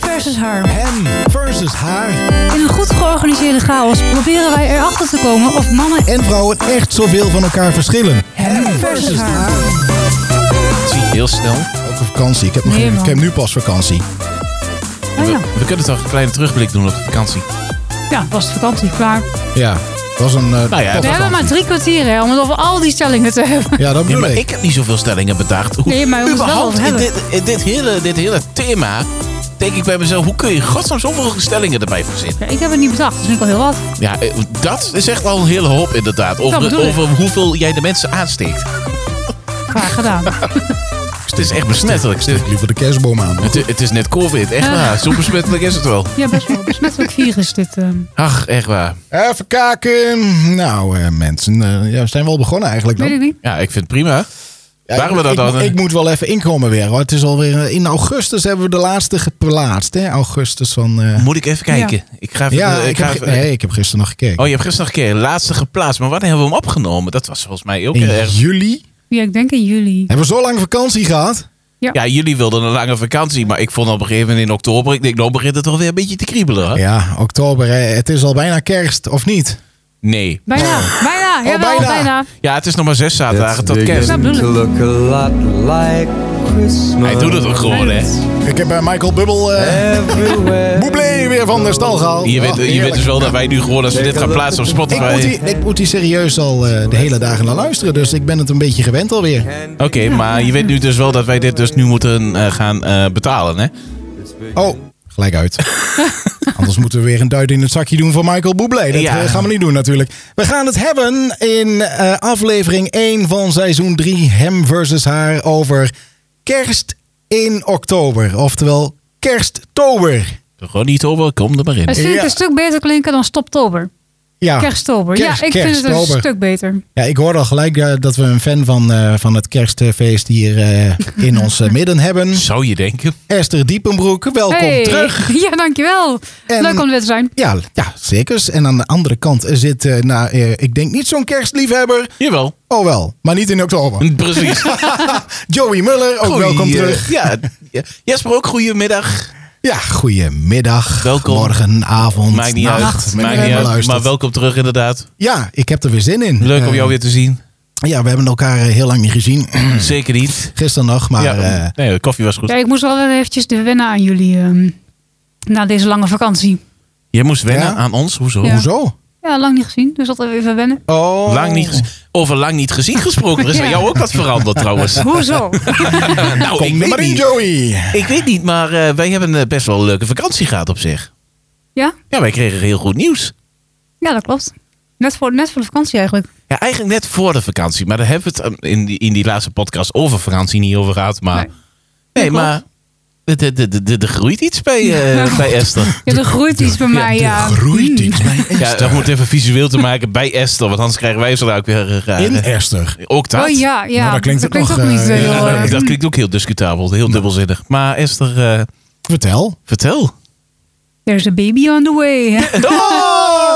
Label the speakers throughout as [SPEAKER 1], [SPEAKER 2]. [SPEAKER 1] versus haar.
[SPEAKER 2] Hem versus haar.
[SPEAKER 1] In een goed georganiseerde chaos proberen wij erachter te komen of mannen
[SPEAKER 2] En vrouwen echt zoveel van elkaar verschillen.
[SPEAKER 1] hem versus haar.
[SPEAKER 3] Zie je heel snel.
[SPEAKER 1] Oh,
[SPEAKER 2] Ook op vakantie. Ik heb, nog
[SPEAKER 1] Nee,
[SPEAKER 2] geen-
[SPEAKER 1] man.
[SPEAKER 2] ik heb nu pas vakantie.
[SPEAKER 1] Nou ja,
[SPEAKER 3] We kunnen toch een kleine terugblik doen op de vakantie.
[SPEAKER 1] ja, was de vakantie klaar.
[SPEAKER 2] Ja, het was een... eh,
[SPEAKER 3] Nou ja,
[SPEAKER 2] top-
[SPEAKER 1] We hebben maar drie kwartier hè, om het over al die stellingen te hebben.
[SPEAKER 2] ja, dat
[SPEAKER 3] Ja,
[SPEAKER 2] bedoel
[SPEAKER 3] maar
[SPEAKER 2] ik.
[SPEAKER 3] ik heb niet zoveel stellingen bedacht. Hoe,
[SPEAKER 1] Nee, maar we moeten het wel
[SPEAKER 3] überhaupt in
[SPEAKER 1] over
[SPEAKER 3] dit, in dit, hele, dit hele thema denk ik bij mezelf... hoe kun je in godsnaam zoveel stellingen erbij verzinnen?
[SPEAKER 1] Ja, ik heb het niet bedacht, dus vind ik al heel wat.
[SPEAKER 3] Ja, eh, dat is echt al een hele hoop inderdaad. Over,
[SPEAKER 1] bedoel ik.
[SPEAKER 3] over hoeveel jij de mensen aansteekt.
[SPEAKER 1] Graag gedaan.
[SPEAKER 3] Dus het is echt besmettelijk. Het,
[SPEAKER 2] Ik liever de kerstboom aan.
[SPEAKER 3] het- het is net covid, echt
[SPEAKER 1] Ja.
[SPEAKER 3] waar. Zo besmettelijk is het wel.
[SPEAKER 1] Ja, best wel. Besmettelijk virus dit. ehm.
[SPEAKER 3] Ach, echt waar.
[SPEAKER 2] Even kijken. Nou, eh, mensen. eh, ja, we zijn wel begonnen eigenlijk dan.
[SPEAKER 1] Weet ik niet.
[SPEAKER 3] Ja, ik vind het prima.
[SPEAKER 2] Ja,
[SPEAKER 3] Waren we dat
[SPEAKER 2] ik,
[SPEAKER 3] dan?
[SPEAKER 2] Ik, ik moet wel even inkomen weer. Hoor. Het is alweer eh, in augustus hebben we de laatste geplaatst. Hè? Augustus van. eh,
[SPEAKER 3] Moet ik even kijken? Ik ga even...
[SPEAKER 2] ja,
[SPEAKER 3] eh,
[SPEAKER 2] ik,
[SPEAKER 3] ga
[SPEAKER 2] heb, ge-
[SPEAKER 3] even-
[SPEAKER 2] nee, ik heb gisteren nog gekeken.
[SPEAKER 3] Oh, je hebt gisteren nog een keer de laatste geplaatst. Maar wanneer hebben we hem opgenomen? Dat was volgens mij ook eh,
[SPEAKER 2] in
[SPEAKER 3] erg.
[SPEAKER 2] juli
[SPEAKER 1] Ja, ik denk in juli.
[SPEAKER 2] hebben we zo lang vakantie gehad.
[SPEAKER 3] Ja, jullie wilden een lange vakantie, maar ik vond op een gegeven moment in oktober. Ik denk, nou begint het toch weer een beetje te kriebelen. hè?
[SPEAKER 2] Ja, oktober. Hè? Het is al bijna kerst, of niet?
[SPEAKER 3] Nee.
[SPEAKER 1] Bijna, bijna. Ja, wel,
[SPEAKER 2] bijna.
[SPEAKER 1] Oh, bijna.
[SPEAKER 3] Ja, het is nog maar zes zaterdagen
[SPEAKER 4] It's
[SPEAKER 3] tot kerst.
[SPEAKER 1] Ja,
[SPEAKER 4] beginning
[SPEAKER 1] bedoel
[SPEAKER 4] to
[SPEAKER 1] ik.
[SPEAKER 4] look a lot like Christmas.
[SPEAKER 3] Hij doet het ook gewoon, hè?
[SPEAKER 2] Ik heb bij Michael Bubbel eh
[SPEAKER 4] Everywhere.
[SPEAKER 2] Bublé weer van de stal gehaald.
[SPEAKER 3] Je weet,
[SPEAKER 2] Oh,
[SPEAKER 3] je weet dus
[SPEAKER 2] heerlijk.
[SPEAKER 3] wel dat wij nu gewoon, als we dit gaan plaatsen op
[SPEAKER 2] ik moet,
[SPEAKER 3] Spotify...
[SPEAKER 2] die, ik moet die serieus al eh, de hele dagen naar luisteren. Dus ik ben het een beetje gewend alweer.
[SPEAKER 3] Oké, maar je weet nu dus wel dat wij dit dus nu moeten eh, gaan eh, betalen, hè?
[SPEAKER 2] Oh, gelijk uit. Anders moeten we weer een duit in het zakje doen voor Michael Bublé. Dat
[SPEAKER 3] Ja.
[SPEAKER 2] eh, gaan we niet doen natuurlijk. We gaan het hebben in eh, aflevering 1 van seizoen 3, hem versus haar, over kerst in oktober. Oftewel kersttober.
[SPEAKER 3] Gewoon niet over, kom er maar in.
[SPEAKER 1] Het vind ik
[SPEAKER 2] Ja.
[SPEAKER 1] een stuk beter klinken dan Stoptober. Ah,
[SPEAKER 2] Ja.
[SPEAKER 1] Kersttober.
[SPEAKER 2] Kerst-
[SPEAKER 1] ja, ik vind het een
[SPEAKER 2] kersttober.
[SPEAKER 1] stuk beter.
[SPEAKER 2] ja, ik hoorde al gelijk eh, dat we een fan van, eh, van het kerstfeest hier eh, in ons eh, midden hebben.
[SPEAKER 3] Zou je denken?
[SPEAKER 2] Esther Diepenbroek, welkom
[SPEAKER 1] Hey.
[SPEAKER 2] terug.
[SPEAKER 1] Ja, dankjewel.
[SPEAKER 2] En-
[SPEAKER 1] Leuk om er weer te zijn.
[SPEAKER 2] Ja, ja, zeker. En aan de andere kant zit, eh, nou, eh, ik denk niet zo'n kerstliefhebber.
[SPEAKER 3] Jawel,
[SPEAKER 2] Oh wel, maar niet in oktober.
[SPEAKER 3] precies.
[SPEAKER 2] Joey Muller, ook
[SPEAKER 3] Goeie-
[SPEAKER 2] welkom terug.
[SPEAKER 3] Ja, ja. Jesper ook, goedemiddag.
[SPEAKER 2] Ja, goedemiddag.
[SPEAKER 3] Welkom.
[SPEAKER 2] Morgen, avond,
[SPEAKER 3] Maakt niet
[SPEAKER 2] nacht.
[SPEAKER 3] uit,
[SPEAKER 2] wanneer
[SPEAKER 3] maakt
[SPEAKER 2] je
[SPEAKER 3] niet
[SPEAKER 2] maar
[SPEAKER 3] uit.
[SPEAKER 2] luistert.
[SPEAKER 3] Maar welkom terug inderdaad.
[SPEAKER 2] Ja, ik heb er weer zin in.
[SPEAKER 3] Leuk om
[SPEAKER 2] Eh,
[SPEAKER 3] jou weer te zien.
[SPEAKER 2] Ja, we hebben elkaar eh, heel lang niet gezien.
[SPEAKER 3] Zeker niet.
[SPEAKER 2] Gisteren nog, maar...
[SPEAKER 3] ja,
[SPEAKER 2] eh,
[SPEAKER 3] nee, de koffie was goed.
[SPEAKER 1] Ja, ik moest wel weer eventjes de wennen aan jullie ehm, na deze lange vakantie.
[SPEAKER 3] Jij moest wennen
[SPEAKER 2] Ja?
[SPEAKER 3] aan ons? Hoezo?
[SPEAKER 1] Ja.
[SPEAKER 2] Hoezo?
[SPEAKER 1] Ja, lang niet gezien, dus altijd even wennen.
[SPEAKER 2] Oh.
[SPEAKER 3] Lang niet gezien. Over lang niet gezien gesproken. Er is bij
[SPEAKER 1] Ja.
[SPEAKER 3] jou ook wat veranderd trouwens.
[SPEAKER 1] Hoezo?
[SPEAKER 3] nou,
[SPEAKER 2] Kom er maar in,
[SPEAKER 3] niet.
[SPEAKER 2] Joey.
[SPEAKER 3] Ik weet niet, maar eh, wij hebben eh, best wel een leuke vakantie gehad op zich.
[SPEAKER 1] ja?
[SPEAKER 3] Ja, wij kregen heel goed nieuws.
[SPEAKER 1] ja, dat klopt. Net voor, net voor de vakantie eigenlijk.
[SPEAKER 3] Ja, eigenlijk net voor de vakantie. Maar daar hebben we het eh, in die, in die laatste podcast over vakantie niet over gehad. Maar
[SPEAKER 1] Nee.
[SPEAKER 3] nee,
[SPEAKER 1] klopt.
[SPEAKER 3] maar er de, de, de, de, er groeit iets bij, eh, bij Esther.
[SPEAKER 1] Ja, er groeit iets bij mij, ja. Hmm.
[SPEAKER 2] Er groeit iets bij
[SPEAKER 3] Ja,
[SPEAKER 2] Esther.
[SPEAKER 3] Dus dat moet even visueel te maken bij Esther. Want anders krijgen wij zo ook weer eh, rare-
[SPEAKER 2] in Esther.
[SPEAKER 3] Ook dat.
[SPEAKER 1] Oh ja, ja.
[SPEAKER 2] Nou, dat klinkt ook nog,
[SPEAKER 1] ook
[SPEAKER 2] eh,
[SPEAKER 1] niet zo
[SPEAKER 2] ja,
[SPEAKER 1] heel...
[SPEAKER 3] Ja,
[SPEAKER 1] eh,
[SPEAKER 3] dat klinkt ook heel discutabel, heel dubbelzinnig. Maar Esther, eh,
[SPEAKER 2] Vertel.
[SPEAKER 3] vertel.
[SPEAKER 1] There's a baby on the way. hè?
[SPEAKER 2] Oh!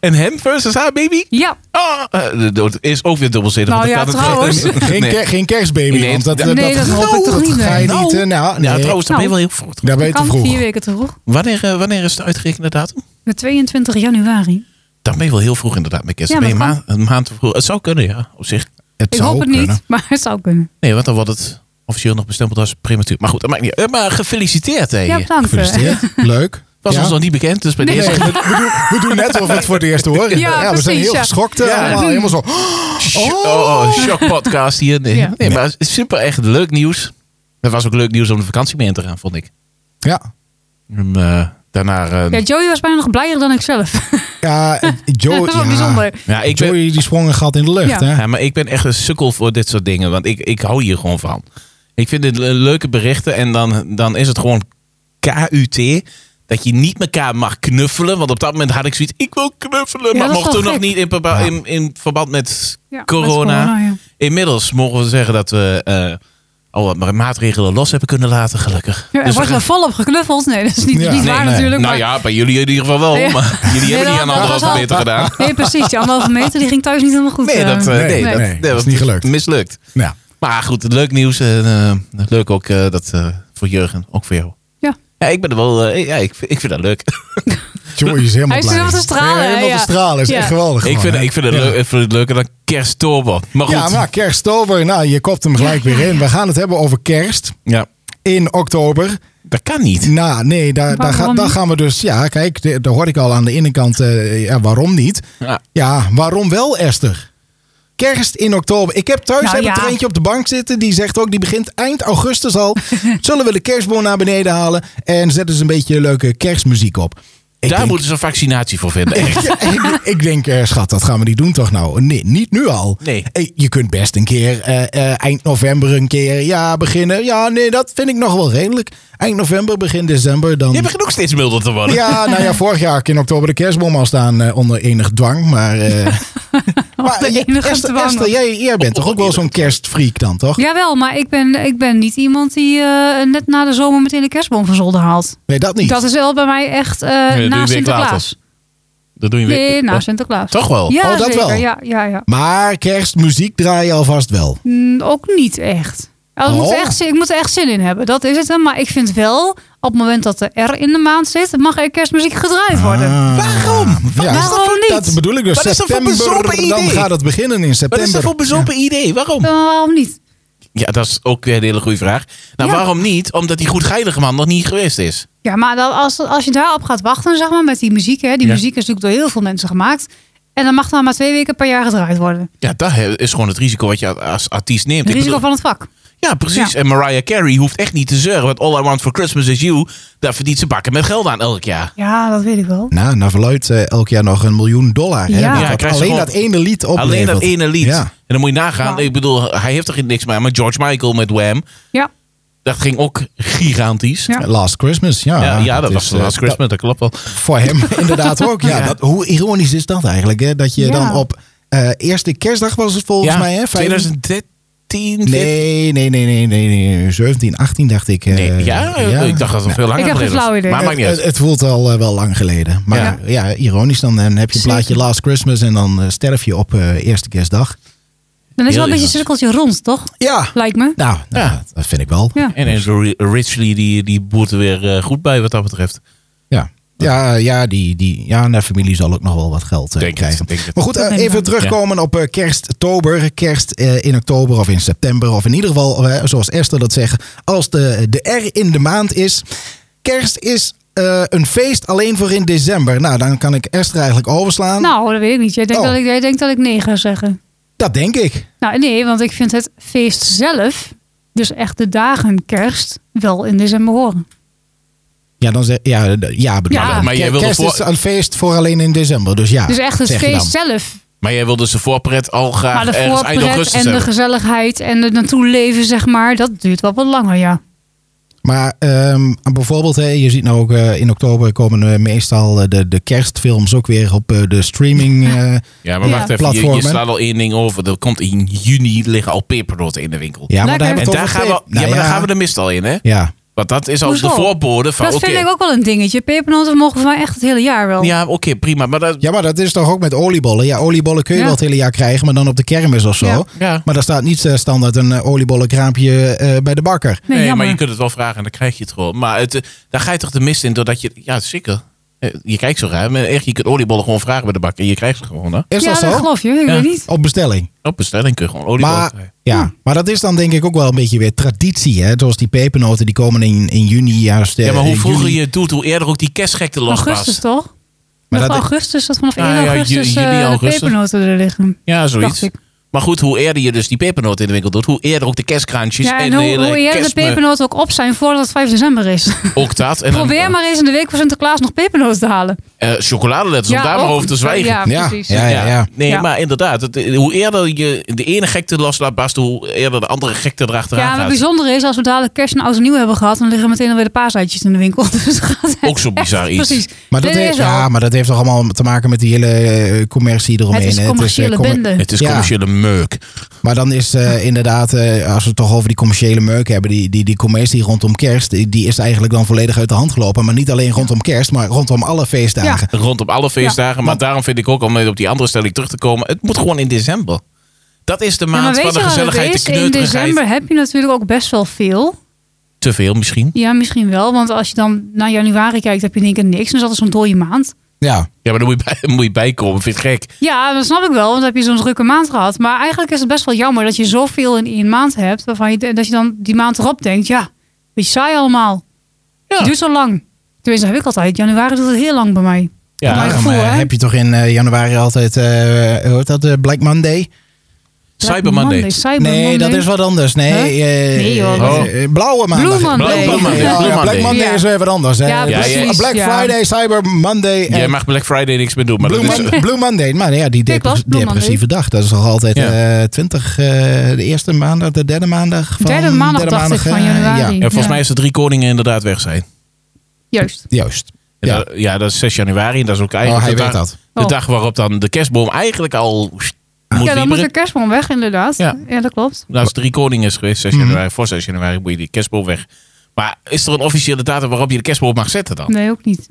[SPEAKER 3] En hem versus haar baby?
[SPEAKER 1] Ja,
[SPEAKER 3] Ah, eh, dat is ook weer dubbelzinnig.
[SPEAKER 1] Nou
[SPEAKER 3] want
[SPEAKER 1] ja,
[SPEAKER 3] dat kan het-
[SPEAKER 1] trouwens.
[SPEAKER 2] Geen,
[SPEAKER 3] Nee.
[SPEAKER 2] ker- geen kerstbaby,
[SPEAKER 3] Nee,
[SPEAKER 2] want dat,
[SPEAKER 3] nee,
[SPEAKER 2] dat,
[SPEAKER 1] dat hoop ik toch niet,
[SPEAKER 2] Dat ga je
[SPEAKER 1] nee.
[SPEAKER 2] niet... eh, nou, nee.
[SPEAKER 3] Ja, trouwens, dan ben
[SPEAKER 1] Nou.
[SPEAKER 3] je wel heel vroeg.
[SPEAKER 2] Daar ben je te
[SPEAKER 1] kan
[SPEAKER 2] vroeg.
[SPEAKER 1] vier weken te vroeg.
[SPEAKER 3] Wanneer, eh, wanneer is de uitgerekende datum?
[SPEAKER 1] De 22 januari.
[SPEAKER 3] Dan ben je wel heel vroeg inderdaad met kerst.
[SPEAKER 1] Ja,
[SPEAKER 3] Dan ben je
[SPEAKER 1] maar
[SPEAKER 3] ma- een maand te vroeg. Het zou kunnen, ja, op zich.
[SPEAKER 2] Het
[SPEAKER 1] Ik
[SPEAKER 2] zou
[SPEAKER 1] hoop het
[SPEAKER 2] kunnen.
[SPEAKER 1] niet, maar het zou kunnen.
[SPEAKER 3] Nee, want dan wordt het officieel nog bestempeld als prematuur. Maar goed, dat maakt niet uit. Eh, Maar gefeliciteerd, hè.
[SPEAKER 1] Ja, bedankt. eh.
[SPEAKER 2] Gefeliciteerd. Leuk.
[SPEAKER 3] Was
[SPEAKER 2] Ja.
[SPEAKER 3] ons nog niet bekend, dus bij de
[SPEAKER 1] Nee.
[SPEAKER 3] eerste...
[SPEAKER 2] Nee, we, we doen, we doen net alsof we het voor het eerst horen.
[SPEAKER 1] Ja,
[SPEAKER 2] we zijn
[SPEAKER 1] precies,
[SPEAKER 2] heel
[SPEAKER 1] ja.
[SPEAKER 2] geschokt. eh,
[SPEAKER 3] Ja.
[SPEAKER 2] allemaal helemaal zo.
[SPEAKER 3] Oh, oh, shock podcast hier. Nee,
[SPEAKER 1] Ja.
[SPEAKER 3] nee maar het is super echt leuk nieuws. Het was ook leuk nieuws om de vakantie mee in te gaan, vond ik.
[SPEAKER 2] Ja.
[SPEAKER 3] En, eh, daarna... eh,
[SPEAKER 1] Ja, Joey was bijna nog blijer dan ik zelf.
[SPEAKER 2] Ja, eh, Joey,
[SPEAKER 1] Dat is wel
[SPEAKER 2] ja.
[SPEAKER 1] bijzonder.
[SPEAKER 3] ja, ik ben,
[SPEAKER 2] Joey die sprong een gat in de lucht.
[SPEAKER 1] Ja.
[SPEAKER 2] Hè?
[SPEAKER 3] ja, maar ik ben echt een sukkel voor dit soort dingen. Want ik, ik hou hier gewoon van. Ik vind dit le- leuke berichten. En dan, dan is het gewoon KUT. Dat je niet elkaar mag knuffelen. Want op dat moment had ik zoiets. Ik wil knuffelen.
[SPEAKER 1] Ja,
[SPEAKER 3] maar
[SPEAKER 1] dat is
[SPEAKER 3] mocht
[SPEAKER 1] wel
[SPEAKER 3] toen nog
[SPEAKER 1] gek.
[SPEAKER 3] niet in, verba-
[SPEAKER 2] Ja.
[SPEAKER 3] in, in verband met
[SPEAKER 1] Ja, met
[SPEAKER 3] corona.
[SPEAKER 1] ja.
[SPEAKER 3] Inmiddels mogen we zeggen dat we eh, al wat maatregelen los hebben kunnen laten. Gelukkig.
[SPEAKER 1] Ja, er
[SPEAKER 3] Dus we
[SPEAKER 1] wordt
[SPEAKER 3] gaan-
[SPEAKER 1] wel volop geknuffeld. Nee, dat is niet,
[SPEAKER 2] Ja.
[SPEAKER 1] niet
[SPEAKER 2] Nee,
[SPEAKER 1] waar
[SPEAKER 2] nee.
[SPEAKER 1] natuurlijk.
[SPEAKER 3] nou
[SPEAKER 1] maar-
[SPEAKER 3] ja, bij jullie in ieder geval wel.
[SPEAKER 1] Ja.
[SPEAKER 3] Maar jullie
[SPEAKER 1] Nee,
[SPEAKER 3] hebben
[SPEAKER 1] dat-
[SPEAKER 3] niet aan
[SPEAKER 1] dat
[SPEAKER 3] anderhalve
[SPEAKER 1] was al-
[SPEAKER 3] meter gedaan.
[SPEAKER 1] Nee, precies. Die anderhalve meter die ging thuis niet helemaal goed.
[SPEAKER 3] Nee,
[SPEAKER 1] eh.
[SPEAKER 3] dat, eh, nee,
[SPEAKER 2] Nee,
[SPEAKER 3] dat,
[SPEAKER 2] nee, dat is niet gelukt.
[SPEAKER 3] Mislukt.
[SPEAKER 2] Nou Ja.
[SPEAKER 3] Maar goed, leuk nieuws. En, eh, leuk ook eh, dat eh, voor eh, Jurgen, ook voor jou.
[SPEAKER 1] Ja.
[SPEAKER 3] Ja, ik ben er wel. eh, ja, ik, vind- ik vind dat leuk.
[SPEAKER 2] Joey is helemaal
[SPEAKER 1] Hij zit
[SPEAKER 2] blij.
[SPEAKER 1] helemaal te stralen,
[SPEAKER 2] Ja, helemaal
[SPEAKER 1] ja.
[SPEAKER 2] te stralen. Is
[SPEAKER 1] Ja.
[SPEAKER 2] echt geweldig.
[SPEAKER 3] ik,
[SPEAKER 2] gewoon,
[SPEAKER 3] vind,
[SPEAKER 2] hè?
[SPEAKER 3] ik vind het
[SPEAKER 2] Ja.
[SPEAKER 3] leuk, ik vind het leuker dan kersttober. Maar goed.
[SPEAKER 2] Ja, maar kersttober. Nou, je kopt hem gelijk weer in. We gaan het hebben over kerst
[SPEAKER 3] Ja,
[SPEAKER 2] in oktober.
[SPEAKER 3] dat kan niet.
[SPEAKER 2] Nou, nee, daar, daar,
[SPEAKER 1] Waarom
[SPEAKER 2] ga- daar
[SPEAKER 1] niet?
[SPEAKER 2] gaan we dus... Ja, kijk, de- daar hoor ik al aan de binnenkant. eh, ja, waarom niet?
[SPEAKER 3] Ja.
[SPEAKER 2] Ja, waarom wel, Esther? Kerst in oktober. Ik heb thuis
[SPEAKER 1] Nou
[SPEAKER 2] heb ik
[SPEAKER 1] ja.
[SPEAKER 2] er eentje op de bank zitten. Die zegt ook, die begint eind augustus al. Zullen we de kerstboom naar beneden halen? En zetten ze een beetje leuke kerstmuziek op. Ik
[SPEAKER 3] Daar
[SPEAKER 2] denk-
[SPEAKER 3] moeten ze een vaccinatie voor vinden. echt.
[SPEAKER 2] Ja, ik, ik denk, eh, schat, dat gaan we niet doen toch nou? Nee, niet nu al.
[SPEAKER 3] Nee.
[SPEAKER 2] Eh, Je kunt best een keer eh, eh, eind november een keer ja, beginnen. Ja, nee, dat vind ik nog wel redelijk. Eind november, begin december dan...
[SPEAKER 3] Je begint ook steeds milder te worden.
[SPEAKER 2] Ja, nou ja, vorig jaar had ik in oktober de kerstboom al staan eh, onder enig dwang. Maar, eh, maar
[SPEAKER 1] Onder
[SPEAKER 2] eh,
[SPEAKER 1] enige
[SPEAKER 2] Esther,
[SPEAKER 1] dwang.
[SPEAKER 2] Esther, jij, jij bent toch ook wel zo'n kerstfreak dan, toch?
[SPEAKER 1] Jawel, maar ik ben, ik ben niet iemand die eh, net na de zomer meteen de kerstboom van zolder haalt.
[SPEAKER 2] Nee, dat niet.
[SPEAKER 1] Dat is wel bij mij echt eh,
[SPEAKER 3] doe je
[SPEAKER 1] na
[SPEAKER 3] week
[SPEAKER 1] Sinterklaas.
[SPEAKER 3] later. Dat doe je weer.
[SPEAKER 1] Nee, nou. na
[SPEAKER 3] Oh,
[SPEAKER 1] Sinterklaas.
[SPEAKER 3] Toch wel?
[SPEAKER 1] Ja,
[SPEAKER 2] Oh, dat
[SPEAKER 1] zeker.
[SPEAKER 2] wel.
[SPEAKER 1] Ja, ja, ja.
[SPEAKER 2] Maar kerstmuziek draai je alvast wel.
[SPEAKER 1] Mm, ook niet echt. Ja, ik, moet
[SPEAKER 2] Oh.
[SPEAKER 1] er echt zin, ik moet er echt zin in hebben. Dat is het. hè. Maar ik vind wel, op het moment dat de R in de maand zit, mag er kerstmuziek gedraaid worden.
[SPEAKER 3] Ah.
[SPEAKER 2] Waarom? Wat
[SPEAKER 1] is dat voor-
[SPEAKER 2] Dat bedoel ik dus.
[SPEAKER 3] Wat is dat voor
[SPEAKER 2] september,
[SPEAKER 3] bezopen
[SPEAKER 2] dan
[SPEAKER 3] idee?
[SPEAKER 2] gaat het beginnen in
[SPEAKER 3] Wat is
[SPEAKER 2] september.
[SPEAKER 3] dat voor bezopen idee? Waarom?
[SPEAKER 1] Eh, waarom niet?
[SPEAKER 3] Ja, dat is ook weer een hele goede vraag. Nou,
[SPEAKER 1] Ja.
[SPEAKER 3] waarom niet? Omdat die goedgeilige man nog niet geweest is.
[SPEAKER 1] Ja, maar dan, als, als je daarop gaat wachten, zeg maar, met die muziek. Hè, die
[SPEAKER 3] Ja.
[SPEAKER 1] muziek is natuurlijk door heel veel mensen gemaakt. En dan mag dan maar twee weken per jaar gedraaid worden.
[SPEAKER 3] Ja, dat he- is gewoon het risico wat je als artiest neemt.
[SPEAKER 1] Het
[SPEAKER 3] Ik
[SPEAKER 1] risico
[SPEAKER 3] bedoel-
[SPEAKER 1] van het vak.
[SPEAKER 3] Ja, precies. En Mariah Carey hoeft echt niet te zeuren. Want All I Want For Christmas Is You, daar verdient ze bakken met geld aan elk jaar.
[SPEAKER 1] Ja, dat weet ik wel.
[SPEAKER 2] Nou, naar verluidt eh, elk jaar nog een miljoen dollar. Hè?
[SPEAKER 1] Ja.
[SPEAKER 2] Dat
[SPEAKER 1] Ja,
[SPEAKER 2] dat
[SPEAKER 3] krijg je
[SPEAKER 2] alleen
[SPEAKER 3] gewoon-
[SPEAKER 2] dat ene lied oplevert.
[SPEAKER 3] Alleen dat ene lied.
[SPEAKER 2] Ja.
[SPEAKER 3] En dan moet je nagaan.
[SPEAKER 1] Ja.
[SPEAKER 3] Ik bedoel, hij heeft er niks mee. aan, Maar George Michael met Wham,
[SPEAKER 1] Ja,
[SPEAKER 3] dat ging ook gigantisch.
[SPEAKER 1] Ja.
[SPEAKER 2] Last Christmas, ja.
[SPEAKER 3] Ja, ja, dat
[SPEAKER 2] is,
[SPEAKER 3] was de
[SPEAKER 2] eh,
[SPEAKER 3] Last Christmas, dat klopt wel.
[SPEAKER 2] dat- voor hem inderdaad ook. Ja, Dat, hoe ironisch is dat eigenlijk? Hè? Dat je
[SPEAKER 1] Ja.
[SPEAKER 2] dan op eh, eerste kerstdag was het volgens
[SPEAKER 3] ja,
[SPEAKER 2] mij. Hè? Vijf-
[SPEAKER 3] 2013?
[SPEAKER 2] Nee, nee, nee, nee, nee, nee. 17, 18 dacht ik. eh,
[SPEAKER 3] Nee, ja, ik dacht dat het veel langer
[SPEAKER 1] Ik heb geen
[SPEAKER 3] geleden was.
[SPEAKER 1] flauw idee.
[SPEAKER 3] Maar
[SPEAKER 2] Het,
[SPEAKER 3] maakt niet uit.
[SPEAKER 2] het- het voelt al eh, wel lang geleden. Maar ja.
[SPEAKER 3] Ja.
[SPEAKER 2] ironisch dan, dan heb je een
[SPEAKER 1] Zeker.
[SPEAKER 2] plaatje Last Christmas en dan eh, sterf je op eh, eerste kerstdag.
[SPEAKER 1] dan is het wel
[SPEAKER 3] Heel
[SPEAKER 1] een beetje een
[SPEAKER 3] ironisch.
[SPEAKER 1] cirkeltje rond, toch?
[SPEAKER 2] Ja.
[SPEAKER 1] Lijkt me.
[SPEAKER 2] Nou, nou,
[SPEAKER 3] Ja.
[SPEAKER 2] dat vind ik wel.
[SPEAKER 1] Ja.
[SPEAKER 3] En Andrew Ridgely, die, die boert er weer eh, goed bij wat dat betreft.
[SPEAKER 2] Ja, ja, ja, die, die, ja naar familie zal ook nog wel wat geld eh,
[SPEAKER 3] Denk het,
[SPEAKER 2] krijgen.
[SPEAKER 3] denk het.
[SPEAKER 2] Maar goed, eh,
[SPEAKER 1] Dat neem ik
[SPEAKER 2] even
[SPEAKER 1] aan.
[SPEAKER 2] terugkomen op eh, kersttober. Kerst eh, in oktober of in september. Of in ieder geval, eh, zoals Esther dat zegt, als de, de R in de maand is. Kerst is eh, een feest alleen voor in december. Nou, dan kan ik Esther eigenlijk overslaan.
[SPEAKER 1] Nou, dat weet ik niet. Jij denkt,
[SPEAKER 2] Oh.
[SPEAKER 1] dat, ik, jij denkt dat ik nee ga zeggen.
[SPEAKER 2] Dat denk ik.
[SPEAKER 1] Nou, nee, want ik vind het feest zelf, dus echt de dagen kerst, wel in december horen.
[SPEAKER 2] Ja, dan zeg, ja, d- ja, bedoel
[SPEAKER 1] Ja.
[SPEAKER 2] ik.
[SPEAKER 3] Maar jij
[SPEAKER 2] Kerst
[SPEAKER 3] wilde
[SPEAKER 2] kerst
[SPEAKER 3] voor-
[SPEAKER 2] is een feest voor alleen in december. Dus ja,
[SPEAKER 3] Ah,
[SPEAKER 1] dus echt het
[SPEAKER 2] zeg je dan.
[SPEAKER 1] feest zelf.
[SPEAKER 3] Maar jij wilde zijn voorpret al
[SPEAKER 1] Maar
[SPEAKER 3] graag
[SPEAKER 1] de
[SPEAKER 3] nou. ergens eind
[SPEAKER 1] voorpret
[SPEAKER 3] augustus
[SPEAKER 1] en de
[SPEAKER 3] hebben.
[SPEAKER 1] gezelligheid en het naartoe leven, zeg maar, dat duurt wel wat langer, ja.
[SPEAKER 2] Maar ehm, bijvoorbeeld, hè, je ziet nou ook eh, in oktober komen eh, meestal eh, de, de kerstfilms ook weer op eh, de streaming. eh,
[SPEAKER 3] Ja, maar
[SPEAKER 1] Ja.
[SPEAKER 3] wacht even. Je, je
[SPEAKER 2] Platformen.
[SPEAKER 3] slaat al één ding over. Er komt in juni liggen al pepernoten in de winkel.
[SPEAKER 2] ja, maar
[SPEAKER 1] Lekker.
[SPEAKER 2] daar hebben
[SPEAKER 3] En
[SPEAKER 2] we
[SPEAKER 3] daar
[SPEAKER 2] het
[SPEAKER 3] gaan,
[SPEAKER 2] over
[SPEAKER 3] we, ja,
[SPEAKER 2] feest. Nou
[SPEAKER 3] maar daar gaan we de mist al in, hè?
[SPEAKER 2] Ja,
[SPEAKER 3] Want dat is al
[SPEAKER 1] Hoezo?
[SPEAKER 3] de voorbode van...
[SPEAKER 1] Dat
[SPEAKER 3] oké.
[SPEAKER 1] vind ik ook wel een dingetje. Pepernoten mogen voor mij echt het hele jaar wel.
[SPEAKER 3] Ja, oké, prima. Maar dat,
[SPEAKER 2] ja, maar dat is toch ook met oliebollen. Ja, oliebollen kun je
[SPEAKER 1] Ja.
[SPEAKER 2] wel het hele jaar krijgen, maar dan op de kermis of zo.
[SPEAKER 1] Ja.
[SPEAKER 3] Ja.
[SPEAKER 2] Maar daar staat niet eh, standaard een eh, oliebollenkraampje eh, bij de bakker.
[SPEAKER 1] nee,
[SPEAKER 3] nee, maar
[SPEAKER 1] jammer.
[SPEAKER 3] je kunt het wel vragen en dan krijg je het gewoon. Maar het, eh, daar ga je toch de mist in doordat je... Ja, zeker. Eh, Je kijkt zo raar. Maar echt, je kunt oliebollen gewoon vragen bij de bakker. Je krijgt ze gewoon, hè?
[SPEAKER 2] Is
[SPEAKER 1] ja,
[SPEAKER 2] dat
[SPEAKER 1] dat
[SPEAKER 2] zo?
[SPEAKER 1] geloof je. Ik
[SPEAKER 3] Ja.
[SPEAKER 1] weet niet.
[SPEAKER 2] Op bestelling.
[SPEAKER 3] Op bestelling kun je gewoon oliebollen
[SPEAKER 2] Maar,
[SPEAKER 3] krijgen.
[SPEAKER 2] ja, maar dat is dan denk ik ook wel een beetje weer traditie. Hè? Zoals die pepernoten, die komen in, in juni. Juist, eh,
[SPEAKER 3] Ja, maar hoe
[SPEAKER 2] eh,
[SPEAKER 3] vroeger
[SPEAKER 2] juli.
[SPEAKER 3] je het doet, hoe eerder ook die kerstgekte los
[SPEAKER 1] Augustus
[SPEAKER 3] was.
[SPEAKER 1] toch?
[SPEAKER 2] Maar
[SPEAKER 1] Maar dat
[SPEAKER 2] dat-
[SPEAKER 1] augustus, dat vanaf
[SPEAKER 3] Ah,
[SPEAKER 1] 1
[SPEAKER 3] ja,
[SPEAKER 1] augustus
[SPEAKER 3] ju- juli,
[SPEAKER 1] eh, de
[SPEAKER 3] augustus.
[SPEAKER 1] pepernoten er liggen.
[SPEAKER 3] Ja, zoiets.
[SPEAKER 1] Dacht ik.
[SPEAKER 3] Maar goed, hoe eerder je dus die pepernoten in de winkel doet, hoe eerder ook de kerstkraantjes
[SPEAKER 1] Ja,
[SPEAKER 3] en,
[SPEAKER 1] en
[SPEAKER 3] de
[SPEAKER 1] hoe,
[SPEAKER 3] hele
[SPEAKER 1] hoe eerder de
[SPEAKER 3] kerstme-
[SPEAKER 1] pepernoten ook op zijn voordat het 5 december is.
[SPEAKER 3] Ook dat. En dan,
[SPEAKER 1] Probeer maar eens in de week voor Sinterklaas nog pepernoten te halen.
[SPEAKER 3] eh, chocoladeletters, om daar maar
[SPEAKER 1] ook.
[SPEAKER 3] over te zwijgen.
[SPEAKER 1] Ja,
[SPEAKER 2] Ja,
[SPEAKER 1] precies.
[SPEAKER 2] ja, ja.
[SPEAKER 3] Nee,
[SPEAKER 1] Ja.
[SPEAKER 3] maar inderdaad. het- hoe eerder je de ene gekte loslaat, Bast, hoe eerder de andere gekte erachteraan
[SPEAKER 1] Ja, maar
[SPEAKER 3] gaat.
[SPEAKER 1] het bijzondere is, als we dadelijk kerst en oud en nieuw hebben gehad, dan liggen meteen alweer de paasuitjes in de winkel. Dus het gaat
[SPEAKER 3] Ook zo'n
[SPEAKER 1] echt-
[SPEAKER 3] bizar iets.
[SPEAKER 1] Precies.
[SPEAKER 2] Maar dat,
[SPEAKER 1] Dit
[SPEAKER 2] heeft,
[SPEAKER 1] is al-
[SPEAKER 2] ja, maar dat heeft toch allemaal te maken met die hele eh, commercie eromheen.
[SPEAKER 1] het is
[SPEAKER 2] hè?
[SPEAKER 1] commerciële
[SPEAKER 2] eh, commer-
[SPEAKER 1] bende.
[SPEAKER 3] Het is
[SPEAKER 2] Ja.
[SPEAKER 3] commerciële meuk.
[SPEAKER 2] Maar dan is eh, inderdaad, eh, als we het toch over die commerciële meuk hebben, die, die, die commercie rondom kerst, die, die is eigenlijk dan volledig uit de hand gelopen. Maar niet alleen rondom kerst, maar rondom alle feestdagen.
[SPEAKER 3] Rondom alle feestdagen. Maar daarom vind ik ook, om net op die andere stelling terug te komen, het moet gewoon in december. Dat is de
[SPEAKER 1] Ja, maar
[SPEAKER 3] maand
[SPEAKER 1] weet
[SPEAKER 3] van de
[SPEAKER 1] je wat het
[SPEAKER 3] gezelligheid, de
[SPEAKER 1] is? In
[SPEAKER 3] kneuterigheid.
[SPEAKER 1] december heb je natuurlijk ook best wel veel.
[SPEAKER 3] Te veel misschien.
[SPEAKER 1] Ja, misschien wel. Want als je dan naar januari kijkt, heb je denk ik niks. Dus dat is zo'n dode maand.
[SPEAKER 2] Ja.
[SPEAKER 3] Ja, maar dan moet je, bij, moet je bijkomen. Vind je het gek?
[SPEAKER 1] Ja, dat snap ik wel. Want dan heb je zo'n drukke maand gehad. Maar eigenlijk is het best wel jammer dat je zoveel in één maand hebt. Waarvan je, dat je dan die maand erop denkt. Ja, beetje saai allemaal.
[SPEAKER 3] Ja.
[SPEAKER 1] Het duurt zo lang. Tenminste, dat heb ik altijd. Januari duurt het heel lang bij mij.
[SPEAKER 3] Ja.
[SPEAKER 1] Maar-
[SPEAKER 2] Daarom
[SPEAKER 1] gevoel,
[SPEAKER 2] eh,
[SPEAKER 1] hè?
[SPEAKER 2] heb je toch in eh, januari altijd, eh hoe heet dat, eh, Black Monday?
[SPEAKER 3] Cyber Monday.
[SPEAKER 1] Cyber
[SPEAKER 2] Nee, dat is wat anders. Nee,
[SPEAKER 1] Huh?
[SPEAKER 2] eh,
[SPEAKER 1] Nee, hoor.
[SPEAKER 2] eh,
[SPEAKER 3] Oh.
[SPEAKER 2] eh, Blauwe maandag.
[SPEAKER 1] Blue Monday.
[SPEAKER 3] Blauwe
[SPEAKER 2] Ja,
[SPEAKER 3] Monday.
[SPEAKER 2] ja,
[SPEAKER 3] Blue
[SPEAKER 2] Black
[SPEAKER 3] Monday.
[SPEAKER 2] Monday
[SPEAKER 1] Ja.
[SPEAKER 2] is weer wat anders. hè.
[SPEAKER 1] Ja,
[SPEAKER 2] Black-
[SPEAKER 3] precies,
[SPEAKER 2] Black
[SPEAKER 1] ja.
[SPEAKER 2] Friday, Cyber Monday en
[SPEAKER 3] Jij mag Black Friday niks meer doen. Maar
[SPEAKER 2] Blue,
[SPEAKER 3] dat is,
[SPEAKER 2] Mon- eh, Blue Monday. Maar ja, die
[SPEAKER 1] Kijk,
[SPEAKER 2] depres-
[SPEAKER 1] was Blue
[SPEAKER 2] depressieve dag. Dat is toch altijd
[SPEAKER 3] Ja.
[SPEAKER 2] eh 20, eh, de eerste maandag, de derde maandag. Van,
[SPEAKER 1] Derde maandag, dacht ik, van
[SPEAKER 2] eh,
[SPEAKER 1] januari.
[SPEAKER 2] Ja,
[SPEAKER 3] ja, volgens
[SPEAKER 1] Ja.
[SPEAKER 3] mij is de drie koningen inderdaad weg zijn.
[SPEAKER 1] Juist.
[SPEAKER 2] juist.
[SPEAKER 3] Ja.
[SPEAKER 2] Ja.
[SPEAKER 3] Dat, ja, dat is 6 januari. En dat is ook
[SPEAKER 2] Oh,
[SPEAKER 3] eigenlijk
[SPEAKER 2] hij
[SPEAKER 3] de,
[SPEAKER 2] weet
[SPEAKER 3] dag,
[SPEAKER 2] dat.
[SPEAKER 3] de
[SPEAKER 1] Oh.
[SPEAKER 3] dag waarop dan de kerstboom eigenlijk al sst, moet
[SPEAKER 1] ja, dan moet de
[SPEAKER 3] wieberen.
[SPEAKER 1] kerstboom weg inderdaad.
[SPEAKER 3] Ja.
[SPEAKER 1] Ja, dat klopt.
[SPEAKER 3] Nou, als drie koningen is geweest,
[SPEAKER 2] Mhm.
[SPEAKER 3] 6 januari, voor 6 januari moet je die kerstboom weg. Maar is er een officiële datum waarop je de kerstboom mag zetten
[SPEAKER 2] Oh.
[SPEAKER 3] dan?
[SPEAKER 1] Nee, ook niet.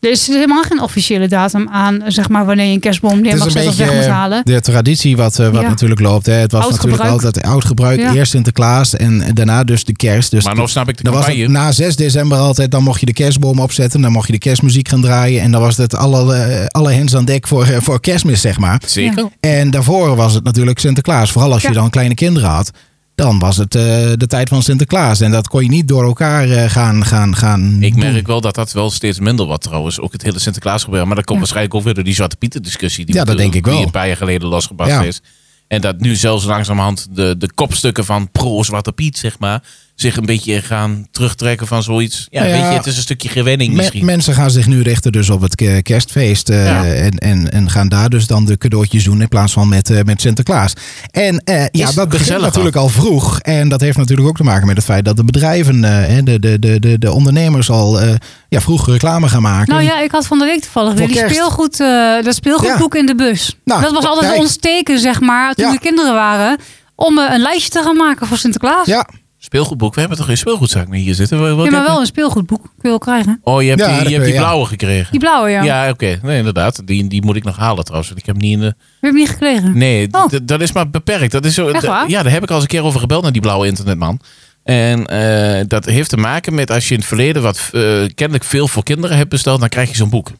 [SPEAKER 1] Er is dus helemaal geen officiële datum aan, zeg maar, wanneer je een kerstboom neer
[SPEAKER 2] Het
[SPEAKER 1] mag
[SPEAKER 2] is een
[SPEAKER 1] zetten of weg moet
[SPEAKER 2] beetje
[SPEAKER 1] halen.
[SPEAKER 2] de traditie wat, eh, wat
[SPEAKER 1] Ja.
[SPEAKER 2] natuurlijk loopt. Hè. Het was
[SPEAKER 1] Oud
[SPEAKER 2] natuurlijk
[SPEAKER 1] gebruik.
[SPEAKER 2] altijd oud gebruik.
[SPEAKER 1] Ja.
[SPEAKER 2] Eerst Sinterklaas en daarna dus de kerst. Dus
[SPEAKER 3] Maar nog snap ik de
[SPEAKER 2] dan was het
[SPEAKER 3] campagne.
[SPEAKER 2] na 6 december altijd, dan mocht je de kerstboom opzetten. Dan mocht je de kerstmuziek gaan draaien. En dan was het alle, eh, alle hens aan dek voor, eh, voor kerstmis, zeg maar.
[SPEAKER 3] Zeker.
[SPEAKER 2] En daarvoor was het natuurlijk Sinterklaas. Vooral als je
[SPEAKER 1] Ja.
[SPEAKER 2] dan kleine kinderen had. Dan was het eh, de tijd van Sinterklaas. En dat kon je niet door elkaar eh, gaan, gaan, gaan
[SPEAKER 3] Ik
[SPEAKER 2] doen.
[SPEAKER 3] merk wel dat dat wel steeds minder wordt trouwens. Ook het hele Sinterklaas gebeuren. Maar dat komt
[SPEAKER 1] Ja.
[SPEAKER 3] waarschijnlijk ook weer door die Zwarte Pieten discussie. Die
[SPEAKER 2] Ja, dat
[SPEAKER 3] natuurlijk-
[SPEAKER 2] denk ik wel.
[SPEAKER 3] Die een paar jaar geleden losgebarst
[SPEAKER 2] Ja.
[SPEAKER 3] is. En dat nu zelfs langzamerhand de, de kopstukken van pro-Zwarte Piet, zeg maar, zich een beetje gaan terugtrekken van zoiets. Ja,
[SPEAKER 2] Nou Ja.
[SPEAKER 3] weet je, het is een stukje gewenning
[SPEAKER 2] Me-
[SPEAKER 3] misschien.
[SPEAKER 2] mensen gaan zich nu richten dus op het ke- kerstfeest. eh,
[SPEAKER 3] Ja.
[SPEAKER 2] en, en, en gaan daar dus dan de cadeautjes doen in plaats van met, eh, met Sinterklaas. En eh, ja,
[SPEAKER 3] het
[SPEAKER 2] dat begint
[SPEAKER 3] gezellig
[SPEAKER 2] natuurlijk al vroeg. En dat heeft natuurlijk ook te maken met het feit dat de bedrijven, eh, hè, de, de, de, de, de ondernemers al eh, ja, vroeg reclame gaan maken.
[SPEAKER 1] Nou ja, ik had van de week toevallig weer
[SPEAKER 2] Voor
[SPEAKER 1] die
[SPEAKER 2] kerst.
[SPEAKER 1] speelgoed, eh, dat speelgoedboek in de bus.
[SPEAKER 2] Nou,
[SPEAKER 1] dat was altijd
[SPEAKER 2] kijk.
[SPEAKER 1] ons teken, zeg maar, toen
[SPEAKER 2] Ja.
[SPEAKER 1] de kinderen waren, om eh, een lijstje te gaan maken voor Sinterklaas.
[SPEAKER 2] ja,
[SPEAKER 3] Speelgoedboek, we hebben toch geen speelgoedzaak meer hier zitten? Wat- wat
[SPEAKER 1] Ja, maar
[SPEAKER 3] heb je?
[SPEAKER 1] wel een speelgoedboek kun je wel krijgen.
[SPEAKER 3] Oh, je hebt
[SPEAKER 2] Ja,
[SPEAKER 3] die,
[SPEAKER 2] dat
[SPEAKER 3] je hebt die
[SPEAKER 2] kun je, ja.
[SPEAKER 3] blauwe gekregen.
[SPEAKER 1] Die blauwe, ja.
[SPEAKER 3] Ja, oké. Nee, inderdaad. Die, die moet ik nog halen trouwens. want Ik heb hem niet in de...
[SPEAKER 1] We hebben hem niet gekregen.
[SPEAKER 3] Nee,
[SPEAKER 1] Oh.
[SPEAKER 3] d- dat is maar beperkt. Dat is zo,
[SPEAKER 1] Echt
[SPEAKER 3] d-
[SPEAKER 1] waar?
[SPEAKER 3] Ja, daar heb ik al eens een keer over gebeld naar die blauwe internetman. En eh, dat heeft te maken met als je in het verleden wat eh, kennelijk veel voor kinderen hebt besteld, dan krijg je zo'n boek.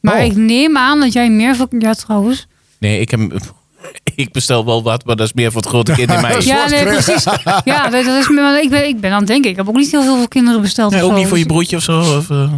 [SPEAKER 1] Maar
[SPEAKER 2] Oh.
[SPEAKER 1] ik neem aan dat jij meer voor... Ja, trouwens.
[SPEAKER 3] Nee, ik, heb, ik bestel wel wat, maar dat is meer voor het grote kind in mij.
[SPEAKER 2] Dat is
[SPEAKER 1] Ja,
[SPEAKER 2] wat
[SPEAKER 1] nee,
[SPEAKER 2] terug.
[SPEAKER 1] precies. Ja, nee, dat is, maar ik, ben, ik ben aan het denken. Ik heb ook niet heel veel voor kinderen besteld.
[SPEAKER 3] Nee,
[SPEAKER 1] of
[SPEAKER 3] ook
[SPEAKER 1] zo. dus
[SPEAKER 3] niet voor je broertje of zo. Of, eh,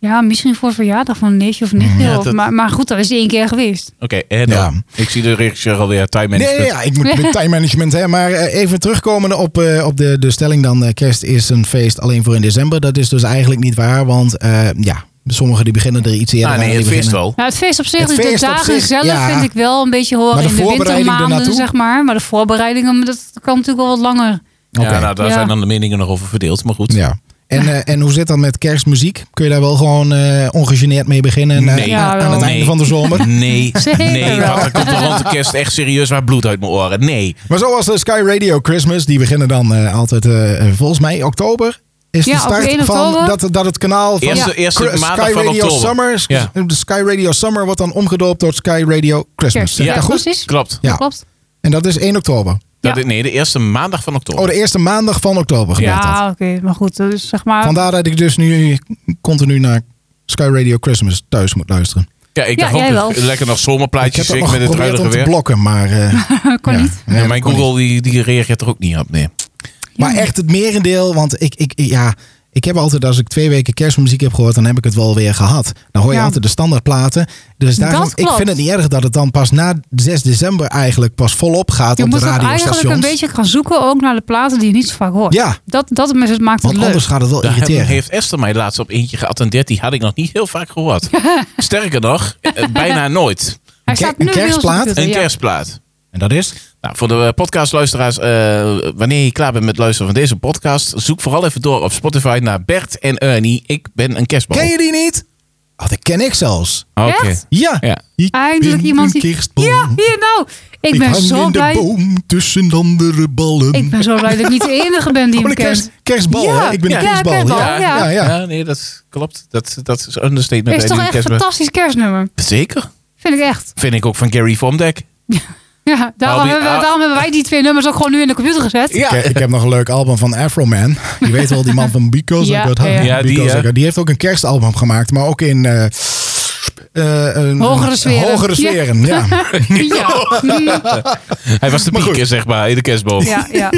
[SPEAKER 1] Ja, misschien voor verjaardag van een neefje of nichtje.
[SPEAKER 3] Ja,
[SPEAKER 1] of-
[SPEAKER 3] dat-
[SPEAKER 1] maar, maar goed, dat is één keer geweest.
[SPEAKER 3] Oké, en dan.
[SPEAKER 2] Ja.
[SPEAKER 3] Ik zie de regisseur alweer time management.
[SPEAKER 2] Nee, ja, ik moet met time management. Hè. Maar eh, even terugkomen op, eh, op de, de stelling dan. eh, kerst is een feest alleen voor in december. Dat is dus eigenlijk niet waar. Want eh, ja, sommigen die beginnen er iets eerder
[SPEAKER 3] Ah,
[SPEAKER 2] aan.
[SPEAKER 3] nee,
[SPEAKER 2] die
[SPEAKER 3] het feest
[SPEAKER 2] beginnen-
[SPEAKER 3] wel.
[SPEAKER 1] Nou, het feest op zich,
[SPEAKER 2] Het
[SPEAKER 1] de
[SPEAKER 2] feest op
[SPEAKER 1] dagen
[SPEAKER 2] zich,
[SPEAKER 1] zelf
[SPEAKER 2] ja.
[SPEAKER 1] vind ik wel een beetje horen
[SPEAKER 2] Maar de
[SPEAKER 1] in de
[SPEAKER 2] voorbereiding
[SPEAKER 1] wintermaanden,
[SPEAKER 2] ernaartoe?
[SPEAKER 1] zeg maar. Maar de voorbereidingen, dat kan natuurlijk wel wat langer.
[SPEAKER 2] Oké.
[SPEAKER 3] Ja, nou, daar
[SPEAKER 1] Ja.
[SPEAKER 3] zijn dan de meningen nog over verdeeld, maar goed.
[SPEAKER 2] Ja. En, eh, en hoe zit dat met kerstmuziek? Kun je daar wel gewoon eh, ongegeneerd mee beginnen eh,
[SPEAKER 3] Nee.
[SPEAKER 1] Ja,
[SPEAKER 2] aan, aan
[SPEAKER 1] wel.
[SPEAKER 2] het
[SPEAKER 3] Nee.
[SPEAKER 2] einde van de zomer?
[SPEAKER 3] Nee,
[SPEAKER 1] Zeker
[SPEAKER 3] nee,
[SPEAKER 1] wel.
[SPEAKER 3] want dan komt er rond de kerst echt serieus waar bloed uit mijn oren. Nee.
[SPEAKER 2] Maar zoals de Sky Radio Christmas, die beginnen dan eh, altijd eh, eh, volgens mij oktober. Is
[SPEAKER 1] Ja,
[SPEAKER 2] de
[SPEAKER 1] op
[SPEAKER 2] start
[SPEAKER 1] 1
[SPEAKER 2] van
[SPEAKER 1] oktober.
[SPEAKER 2] dat, dat het kanaal van
[SPEAKER 3] Eerste-
[SPEAKER 2] Ja.
[SPEAKER 3] eerste
[SPEAKER 2] Cru-
[SPEAKER 3] maandag
[SPEAKER 2] Sky
[SPEAKER 3] van
[SPEAKER 2] Radio
[SPEAKER 3] oktober.
[SPEAKER 2] Summer.
[SPEAKER 3] Ja.
[SPEAKER 2] De Sky Radio Summer wordt dan omgedoopt door Sky Radio Christmas.
[SPEAKER 1] Kerst.
[SPEAKER 2] Zeg ik
[SPEAKER 1] Ja,
[SPEAKER 2] dat goed?
[SPEAKER 1] precies.
[SPEAKER 3] Klopt.
[SPEAKER 2] Ja.
[SPEAKER 1] Klopt.
[SPEAKER 2] En dat is 1 oktober.
[SPEAKER 3] Dat
[SPEAKER 1] Ja.
[SPEAKER 3] is- nee, de eerste maandag van oktober.
[SPEAKER 2] Oh, de eerste maandag van oktober
[SPEAKER 1] Ja,
[SPEAKER 2] gebeurt dat.
[SPEAKER 1] oké. Maar goed, dus zeg maar...
[SPEAKER 2] Vandaar dat ik dus nu continu naar Sky Radio Christmas thuis moet luisteren.
[SPEAKER 3] Ja, ik
[SPEAKER 1] Ja,
[SPEAKER 3] dacht ook
[SPEAKER 1] jij
[SPEAKER 3] een-
[SPEAKER 1] wel.
[SPEAKER 3] lekker nog
[SPEAKER 2] Ik heb
[SPEAKER 3] zomerplaatjes
[SPEAKER 2] dat
[SPEAKER 3] ik
[SPEAKER 2] nog
[SPEAKER 3] met het
[SPEAKER 2] geprobeerd
[SPEAKER 3] ruilige
[SPEAKER 2] om te
[SPEAKER 3] weer.
[SPEAKER 2] blokken, maar... eh,
[SPEAKER 1] kan
[SPEAKER 2] ja.
[SPEAKER 1] niet.
[SPEAKER 2] Nee,
[SPEAKER 3] Ja,
[SPEAKER 2] dat
[SPEAKER 3] mijn
[SPEAKER 2] kon niet.
[SPEAKER 3] Google die, die reageert er ook niet op. Nee.
[SPEAKER 2] Maar echt het merendeel, want ik, ik, ja, ik heb altijd, als ik twee weken kerstmuziek heb gehoord, dan heb ik het wel weer gehad. Dan hoor je
[SPEAKER 1] Ja.
[SPEAKER 2] altijd de standaardplaten. Dus daarom,
[SPEAKER 1] Dat
[SPEAKER 2] ik
[SPEAKER 1] klopt.
[SPEAKER 2] vind het niet erg dat het dan pas na 6 december eigenlijk pas volop gaat
[SPEAKER 1] Je
[SPEAKER 2] op de
[SPEAKER 1] moet ook eigenlijk
[SPEAKER 2] radiostations.
[SPEAKER 1] een beetje gaan zoeken ook naar de platen die je niet zo vaak hoort.
[SPEAKER 2] Ja.
[SPEAKER 1] Dat, dat is- maakt het
[SPEAKER 2] Want
[SPEAKER 1] leuk.
[SPEAKER 2] anders gaat het wel
[SPEAKER 3] Daar
[SPEAKER 2] irriteren.
[SPEAKER 3] heeft Esther mij laatst op eentje geattendeerd. Die had ik nog niet heel vaak gehoord. Sterker nog, eh, bijna nooit.
[SPEAKER 1] Hij
[SPEAKER 2] Een
[SPEAKER 1] staat
[SPEAKER 2] ke-
[SPEAKER 1] nu
[SPEAKER 2] een
[SPEAKER 1] weer op de
[SPEAKER 2] kerstplaat?
[SPEAKER 1] computer,
[SPEAKER 3] Een
[SPEAKER 1] ja.
[SPEAKER 3] kerstplaat.
[SPEAKER 2] En dat is?
[SPEAKER 3] Nou, voor de eh, podcastluisteraars, eh, wanneer je klaar bent met luisteren van deze podcast, zoek vooral even door op Spotify naar Bert en Ernie. Ik ben een kerstbal.
[SPEAKER 2] Ken je die niet? Oh, dat ken ik zelfs.
[SPEAKER 3] Oké.
[SPEAKER 1] Echt?
[SPEAKER 2] Ja.
[SPEAKER 3] Ja.
[SPEAKER 2] Ik
[SPEAKER 1] Eindelijk
[SPEAKER 2] ben
[SPEAKER 1] iemand
[SPEAKER 2] een
[SPEAKER 1] die-
[SPEAKER 2] kerstboom.
[SPEAKER 1] Ja, hier nou. Ik, ben
[SPEAKER 2] hang
[SPEAKER 1] zo
[SPEAKER 2] in
[SPEAKER 1] blij.
[SPEAKER 2] de boom tussen andere ballen.
[SPEAKER 1] Ik ben zo blij dat ik niet de enige ben die
[SPEAKER 2] Oh,
[SPEAKER 1] hem
[SPEAKER 2] de kerst-
[SPEAKER 1] kent.
[SPEAKER 2] kerstbal,
[SPEAKER 1] Ja,
[SPEAKER 2] hè? Ik ben een
[SPEAKER 1] ja,
[SPEAKER 2] kerstbal.
[SPEAKER 1] kerstbal,
[SPEAKER 2] ja.
[SPEAKER 1] Oh, ja.
[SPEAKER 2] ja, ja.
[SPEAKER 3] Ja, nee, dat klopt. Dat, dat is een understatement.
[SPEAKER 1] Het is
[SPEAKER 3] bij
[SPEAKER 1] toch
[SPEAKER 3] die
[SPEAKER 1] echt een
[SPEAKER 3] kerstbal.
[SPEAKER 1] fantastisch kerstnummer.
[SPEAKER 3] Zeker.
[SPEAKER 1] Vind ik echt.
[SPEAKER 3] Vind ik ook van Gary Vomdek.
[SPEAKER 1] Ja, daarom,
[SPEAKER 3] Al die-
[SPEAKER 1] hebben, we-
[SPEAKER 3] ah.
[SPEAKER 1] daarom hebben wij die twee nummers ook gewoon nu in de computer gezet.
[SPEAKER 3] Ja.
[SPEAKER 2] Ik, ik heb nog een leuk album van Afro Man. Je weet wel, die man van Because
[SPEAKER 1] Ja,
[SPEAKER 2] I Got High.
[SPEAKER 1] ja.
[SPEAKER 3] Ja, die,
[SPEAKER 2] Because I
[SPEAKER 3] ja.
[SPEAKER 2] Got- die heeft ook een kerstalbum gemaakt, maar ook in... eh, eh, een-
[SPEAKER 1] Hogere sferen.
[SPEAKER 2] Hogere
[SPEAKER 1] Ja.
[SPEAKER 2] sferen, ja.
[SPEAKER 1] Ja, mm,
[SPEAKER 3] Hij was de
[SPEAKER 2] Maar goed.
[SPEAKER 3] pieker, zeg maar, in de kerstboom.
[SPEAKER 1] ja, ja.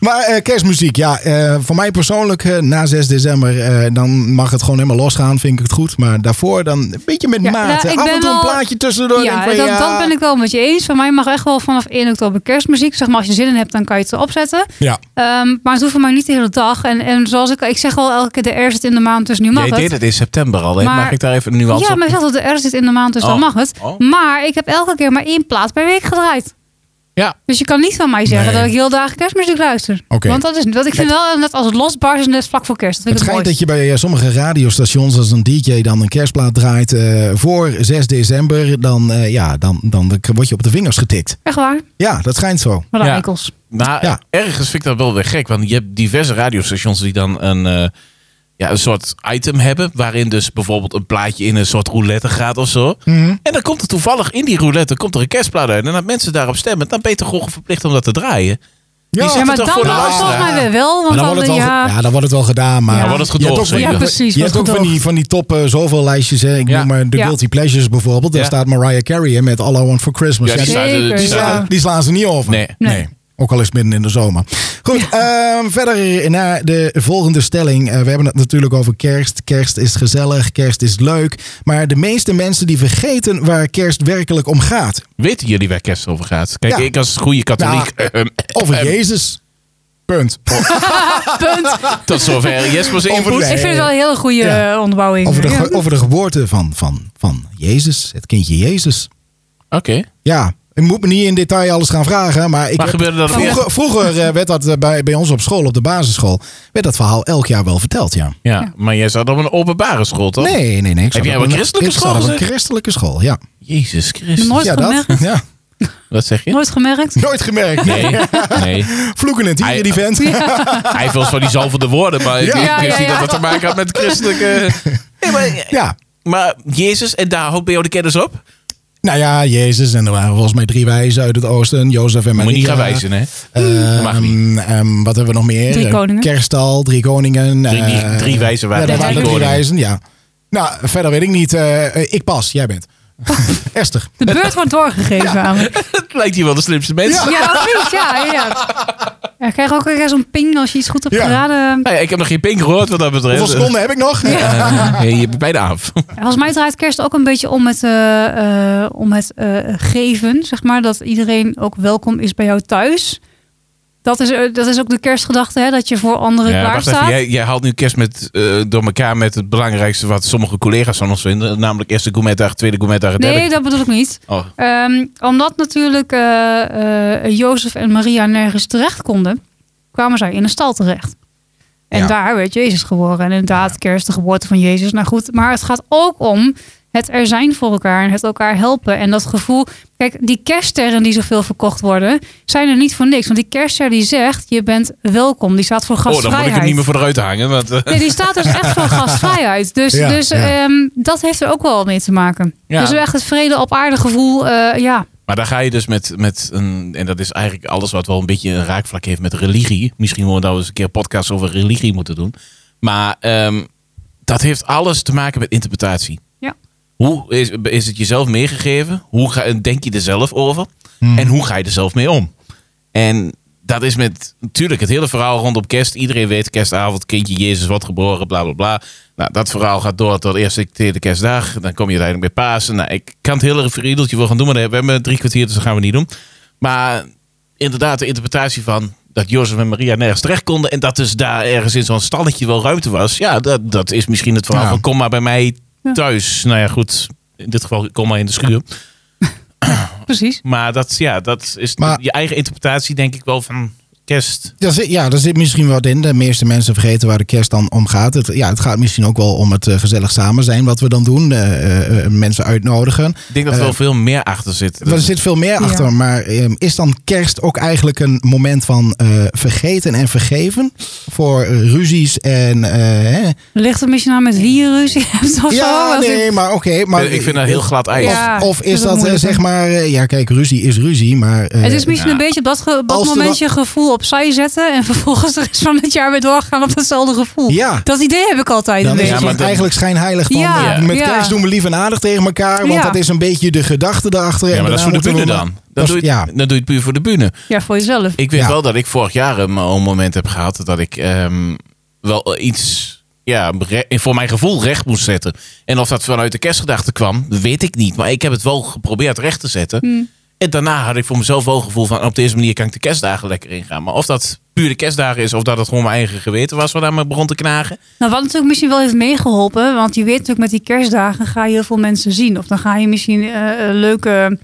[SPEAKER 2] Maar eh, kerstmuziek, ja. eh, voor mij persoonlijk, eh, na 6 december, eh, dan mag het gewoon helemaal losgaan. Vind ik het goed. Maar daarvoor dan een beetje met
[SPEAKER 1] Ja,
[SPEAKER 2] mate.
[SPEAKER 1] nou, ik
[SPEAKER 2] Af en
[SPEAKER 1] ben
[SPEAKER 2] toe een
[SPEAKER 1] wel-
[SPEAKER 2] plaatje tussendoor. denk
[SPEAKER 1] ja,
[SPEAKER 2] van,
[SPEAKER 1] dat,
[SPEAKER 2] ja.
[SPEAKER 1] dat ben ik wel met je eens. Voor mij mag echt wel vanaf 1 oktober kerstmuziek. Zeg maar, als je zin in hebt, dan kan je het erop zetten.
[SPEAKER 2] Ja.
[SPEAKER 1] Ehm, maar het hoeft voor mij niet de hele dag. En, en zoals ik, ik zeg wel elke keer, de R zit in de maand, dus nu mag
[SPEAKER 3] Jij
[SPEAKER 1] het.
[SPEAKER 3] deed het in september al. hè?
[SPEAKER 1] Maar-
[SPEAKER 3] Mag ik daar even een nuance
[SPEAKER 1] ja,
[SPEAKER 3] op?
[SPEAKER 1] maar ik zeg dat de R zit in de maand, dus dan
[SPEAKER 3] Oh.
[SPEAKER 1] mag het.
[SPEAKER 3] Oh.
[SPEAKER 1] Maar ik heb elke keer maar één plaat per week gedraaid.
[SPEAKER 3] Ja.
[SPEAKER 1] Dus je kan niet van mij zeggen
[SPEAKER 2] Nee.
[SPEAKER 1] dat ik heel dagen kerstmuziek luister.
[SPEAKER 2] Oké.
[SPEAKER 1] Want dat is niet. Want ik vind wel, net als het losbarst, is net vlak voor kerst. Dat vind
[SPEAKER 2] Het
[SPEAKER 1] ik het
[SPEAKER 2] schijnt dat
[SPEAKER 1] mooist.
[SPEAKER 2] je bij eh, sommige radiostations, als een DJ dan een kerstplaat draait eh, voor 6 december, dan, eh, ja, dan, dan word je op de vingers getikt.
[SPEAKER 1] Echt waar?
[SPEAKER 2] Ja, dat schijnt zo.
[SPEAKER 1] Wat
[SPEAKER 3] Ja.
[SPEAKER 1] ja. eikels.
[SPEAKER 3] Maar
[SPEAKER 2] Ja.
[SPEAKER 3] ergens vind ik dat wel weer gek. Want je hebt diverse radiostations die dan een, eh, ja, een soort item hebben. Waarin dus bijvoorbeeld een plaatje in een soort roulette gaat of zo. En dan komt er toevallig in die roulette komt er een kerstplaat uit. En dat mensen daarop stemmen, dan ben je toch gewoon verplicht om dat te draaien.
[SPEAKER 2] Ja,
[SPEAKER 3] Die
[SPEAKER 1] Ja,
[SPEAKER 3] zegt
[SPEAKER 1] maar
[SPEAKER 3] het
[SPEAKER 1] dan
[SPEAKER 3] toch voor de
[SPEAKER 1] wel volgens
[SPEAKER 3] luisteraar.
[SPEAKER 1] mij weer wel.
[SPEAKER 2] Maar
[SPEAKER 1] Want
[SPEAKER 2] dan wordt,
[SPEAKER 1] dan,
[SPEAKER 2] het wel,
[SPEAKER 1] ja,
[SPEAKER 2] ge- ja, dan wordt het wel gedaan. Maar
[SPEAKER 1] Ja. Dan
[SPEAKER 3] wordt het
[SPEAKER 2] Je hebt ook
[SPEAKER 3] gedoogd,
[SPEAKER 2] van-
[SPEAKER 3] zeker.
[SPEAKER 1] Ja, precies,
[SPEAKER 2] Je hebt ook
[SPEAKER 1] wordt
[SPEAKER 2] van die, van die top eh, zoveel lijstjes. Hè. Ik
[SPEAKER 3] Ja.
[SPEAKER 2] noem maar de
[SPEAKER 1] Ja.
[SPEAKER 2] Guilty Pleasures bijvoorbeeld. Daar
[SPEAKER 3] Ja.
[SPEAKER 2] staat Mariah Carey in met All I Want For Christmas.
[SPEAKER 3] Ja, die
[SPEAKER 2] Ja,
[SPEAKER 3] staat-
[SPEAKER 1] Zeker,
[SPEAKER 3] die
[SPEAKER 2] die,
[SPEAKER 3] staat-
[SPEAKER 1] ja.
[SPEAKER 2] slaan, die slaan ze niet over.
[SPEAKER 3] Nee.
[SPEAKER 1] Nee.
[SPEAKER 2] Ook al is het midden in de zomer. Goed, ehm, verder naar de volgende stelling. Eh, we hebben het natuurlijk over kerst. Kerst is gezellig, kerst is leuk. Maar de meeste mensen die vergeten waar kerst werkelijk om gaat.
[SPEAKER 3] Weten jullie waar kerst over gaat? Kijk,
[SPEAKER 2] Ja.
[SPEAKER 3] ik als goede katholiek. ehm,
[SPEAKER 2] Over Jezus. Punt.
[SPEAKER 3] tot zover. Jesper's
[SPEAKER 2] Over
[SPEAKER 3] invloed.
[SPEAKER 2] de-
[SPEAKER 1] Ik vind het wel een hele goede
[SPEAKER 2] Ja.
[SPEAKER 1] eh, onderbouwing.
[SPEAKER 2] Over de,
[SPEAKER 1] Ja.
[SPEAKER 2] ge- over de geboorte van, van, van Jezus, het kindje Jezus.
[SPEAKER 3] Oké.
[SPEAKER 2] Ja, ik moet me niet in detail alles gaan vragen, maar ik
[SPEAKER 3] Maar
[SPEAKER 2] heb-
[SPEAKER 3] gebeurde dat ook
[SPEAKER 2] vroeger, vroeger eh, werd dat eh, bij, bij ons op school, op de basisschool, werd dat verhaal elk jaar wel verteld, ja.
[SPEAKER 3] Ja, maar jij zat op een openbare school, toch?
[SPEAKER 2] Nee, nee, nee. ik zat
[SPEAKER 3] Oh. jij
[SPEAKER 2] op
[SPEAKER 3] op een christelijke
[SPEAKER 2] ik zat
[SPEAKER 3] school
[SPEAKER 2] op een
[SPEAKER 3] gezeten?
[SPEAKER 2] christelijke school, ja.
[SPEAKER 3] Jezus Christus.
[SPEAKER 1] Nooit
[SPEAKER 2] ja,
[SPEAKER 1] gemerkt?
[SPEAKER 2] Ja.
[SPEAKER 3] Wat zeg je?
[SPEAKER 1] Nooit gemerkt.
[SPEAKER 2] Nooit gemerkt.
[SPEAKER 3] Nee, nee.
[SPEAKER 2] Vloeken in het hier,
[SPEAKER 3] Hij-
[SPEAKER 2] die vent.
[SPEAKER 3] Hij heeft wel eens van die zalvende woorden, maar ik,
[SPEAKER 2] Ja.
[SPEAKER 3] ik
[SPEAKER 1] Ja,
[SPEAKER 3] wist
[SPEAKER 1] ja,
[SPEAKER 3] niet
[SPEAKER 1] ja.
[SPEAKER 3] dat het te maken had met christelijke... Nee, maar,
[SPEAKER 2] Ja.
[SPEAKER 3] maar Jezus, en daar houdt bij jou de kennis op?
[SPEAKER 2] Nou ja, Jezus. En er waren volgens mij drie wijzen uit het oosten. Jozef en Maria.
[SPEAKER 3] Moet je niet gaan wijzen, hè?
[SPEAKER 2] Ehm,
[SPEAKER 3] mag niet.
[SPEAKER 2] ehm, wat hebben we nog meer?
[SPEAKER 1] Drie koningen.
[SPEAKER 2] Kerstal, drie koningen.
[SPEAKER 3] Drie- drie-
[SPEAKER 2] eh,
[SPEAKER 3] drie wijzen waren
[SPEAKER 2] ja, er
[SPEAKER 1] er.
[SPEAKER 2] waren
[SPEAKER 1] Drie
[SPEAKER 2] drie
[SPEAKER 3] koningen.
[SPEAKER 2] wijzen, ja. Nou, verder weet ik niet. Eh, eh, ik pas, jij bent. Esther.
[SPEAKER 1] De beurt wordt doorgegeven aan me.
[SPEAKER 3] Het lijkt hier wel de slimste mensen.
[SPEAKER 1] Ja, of niet? Ja, ja. Ja, ik krijg ook weer zo'n ping als je iets goed hebt
[SPEAKER 2] Ja.
[SPEAKER 1] geraden.
[SPEAKER 3] Nou ja, ik heb nog geen pink gehoord wat dat betreft.
[SPEAKER 2] Hoeveel seconden heb ik nog?
[SPEAKER 3] Eh, nee, je bent bijna af.
[SPEAKER 1] Volgens mij draait kerst ook een beetje om het, eh, eh, om het eh, geven, zeg maar. Dat iedereen ook welkom is bij jou thuis. Dat is, eh, dat is ook de kerstgedachte, hè? dat je voor anderen
[SPEAKER 3] Ja, wacht even.
[SPEAKER 1] klaarstaat.
[SPEAKER 3] Jij, jij haalt nu kerst met, eh, door elkaar met het belangrijkste wat sommige collega's van ons vinden. Namelijk eerste gourmetdag, tweede gourmetdag, en derde.
[SPEAKER 1] Nee, dat bedoel ik niet.
[SPEAKER 3] Oh,
[SPEAKER 1] Ehm, omdat natuurlijk eh, eh, Jozef en Maria nergens terecht konden, kwamen zij in een stal terecht. En
[SPEAKER 2] Ja.
[SPEAKER 1] daar werd Jezus geboren. En inderdaad, kerst, de geboorte van Jezus. Nou goed, maar het gaat ook om het er zijn voor elkaar en het elkaar helpen. En dat gevoel, kijk, die kerststerren die zoveel verkocht worden, zijn er niet voor niks. Want die kerstster die zegt, je bent welkom. Die staat voor
[SPEAKER 3] oh dan
[SPEAKER 1] gastvrijheid.
[SPEAKER 3] moet ik hem niet meer voor eruit hangen. Want, eh,
[SPEAKER 1] Nee, die staat dus echt voor gastvrijheid. Dus,
[SPEAKER 2] Ja,
[SPEAKER 1] dus
[SPEAKER 2] ja.
[SPEAKER 1] ehm, dat heeft er ook wel mee te maken.
[SPEAKER 3] Ja.
[SPEAKER 1] Dus echt het vrede op aarde gevoel, eh, ja.
[SPEAKER 3] Maar daar ga je dus met, met een, en dat is eigenlijk alles wat wel een beetje een raakvlak heeft met religie. Misschien moeten we daar eens een keer een podcast over religie moeten doen. Maar ehm, dat heeft alles te maken met interpretatie.
[SPEAKER 1] Ja.
[SPEAKER 3] Hoe is, is het jezelf meegegeven? Hoe ga, denk je er zelf over? En hoe ga je er zelf mee om? En dat is met, natuurlijk, het hele verhaal rondom kerst. Iedereen weet kerstavond, kindje Jezus wordt geboren, bla bla bla. Nou, dat verhaal gaat door tot eerst de tweede kerstdag. Dan kom je uiteindelijk bij Pasen. Nou, ik kan het hele riedeltje wel gaan doen, maar we hebben drie kwartier, dus dat gaan we niet doen. Maar inderdaad, de interpretatie van dat Jozef en Maria nergens terecht konden. En dat dus daar ergens in zo'n stalletje wel ruimte was. Ja, dat, dat is misschien het verhaal
[SPEAKER 2] Ja.
[SPEAKER 3] van kom maar bij mij
[SPEAKER 1] Ja.
[SPEAKER 3] thuis. Nou ja, goed. In dit geval kom maar in de schuur.
[SPEAKER 1] Precies.
[SPEAKER 3] Maar dat, ja, dat is
[SPEAKER 2] Maar-
[SPEAKER 3] je eigen interpretatie, denk ik wel, van kerst.
[SPEAKER 2] Daar zit, ja, daar zit misschien wat in. De meeste mensen vergeten waar de kerst dan om gaat. Het, ja, het gaat misschien ook wel om het eh, gezellig samen zijn wat we dan doen. Eh, eh, eh, mensen uitnodigen.
[SPEAKER 3] Ik denk dat er
[SPEAKER 2] Eh,
[SPEAKER 3] wel veel meer achter zit.
[SPEAKER 2] Er zit veel meer
[SPEAKER 1] Ja.
[SPEAKER 2] achter. Maar ehm, is dan kerst ook eigenlijk een moment van eh, vergeten en vergeven? Of voor eh, ruzies en... eh, hè?
[SPEAKER 1] Ligt het misschien aan met wie je ruzie hebt of zo?
[SPEAKER 2] ja,
[SPEAKER 1] Als ik-
[SPEAKER 2] nee, maar oké. maar,
[SPEAKER 3] ik vind dat heel glad ijs.
[SPEAKER 1] Ja.
[SPEAKER 2] Of, of
[SPEAKER 1] ik vind
[SPEAKER 2] is
[SPEAKER 1] dat
[SPEAKER 2] dat eh,
[SPEAKER 1] moeilijk.
[SPEAKER 2] zeg maar... eh, ja, kijk, ruzie is ruzie, maar... eh,
[SPEAKER 1] Het is misschien
[SPEAKER 3] ja.
[SPEAKER 1] een beetje op dat, ge- op dat
[SPEAKER 2] Als er
[SPEAKER 1] moment
[SPEAKER 2] dan-
[SPEAKER 1] je gevoel opzij zetten. En vervolgens de rest van het jaar weer doorgaan op datzelfde gevoel.
[SPEAKER 2] Ja.
[SPEAKER 1] Dat idee heb ik altijd een
[SPEAKER 2] Dan is
[SPEAKER 1] beetje.
[SPEAKER 2] het
[SPEAKER 3] Ja, maar dan-
[SPEAKER 2] eigenlijk schijnheilig van...
[SPEAKER 1] Ja,
[SPEAKER 2] eh, met
[SPEAKER 1] ja.
[SPEAKER 2] kerst doen we lief en aardig tegen elkaar. Want
[SPEAKER 1] Ja.
[SPEAKER 2] dat is een beetje de gedachte daarachter.
[SPEAKER 3] Ja,
[SPEAKER 2] en
[SPEAKER 3] maar dat is voor
[SPEAKER 2] daarna
[SPEAKER 3] de bühne
[SPEAKER 2] moeten we-
[SPEAKER 3] dan.
[SPEAKER 2] Dat
[SPEAKER 3] Dan
[SPEAKER 2] is-
[SPEAKER 3] doe, je,
[SPEAKER 2] ja.
[SPEAKER 3] dan doe je het puur voor de bühne.
[SPEAKER 1] Ja, voor jezelf.
[SPEAKER 3] Ik weet
[SPEAKER 2] Ja.
[SPEAKER 3] wel dat ik vorig jaar een, eh, een moment heb gehad dat ik ehm, wel iets ja, re- voor mijn gevoel recht moest zetten. En of dat vanuit de kerstgedachte kwam, weet ik niet. Maar ik heb het wel geprobeerd recht te zetten.
[SPEAKER 2] Hmm.
[SPEAKER 3] En daarna had ik voor mezelf wel het gevoel van op deze manier kan ik de kerstdagen lekker ingaan. Maar of dat puur de kerstdagen is of dat het gewoon mijn eigen geweten was wat aan me begon te knagen.
[SPEAKER 1] Nou, wat natuurlijk misschien wel heeft meegeholpen. Want je weet natuurlijk met die kerstdagen ga je heel veel mensen zien. Of dan ga je misschien eh, eh, leuke,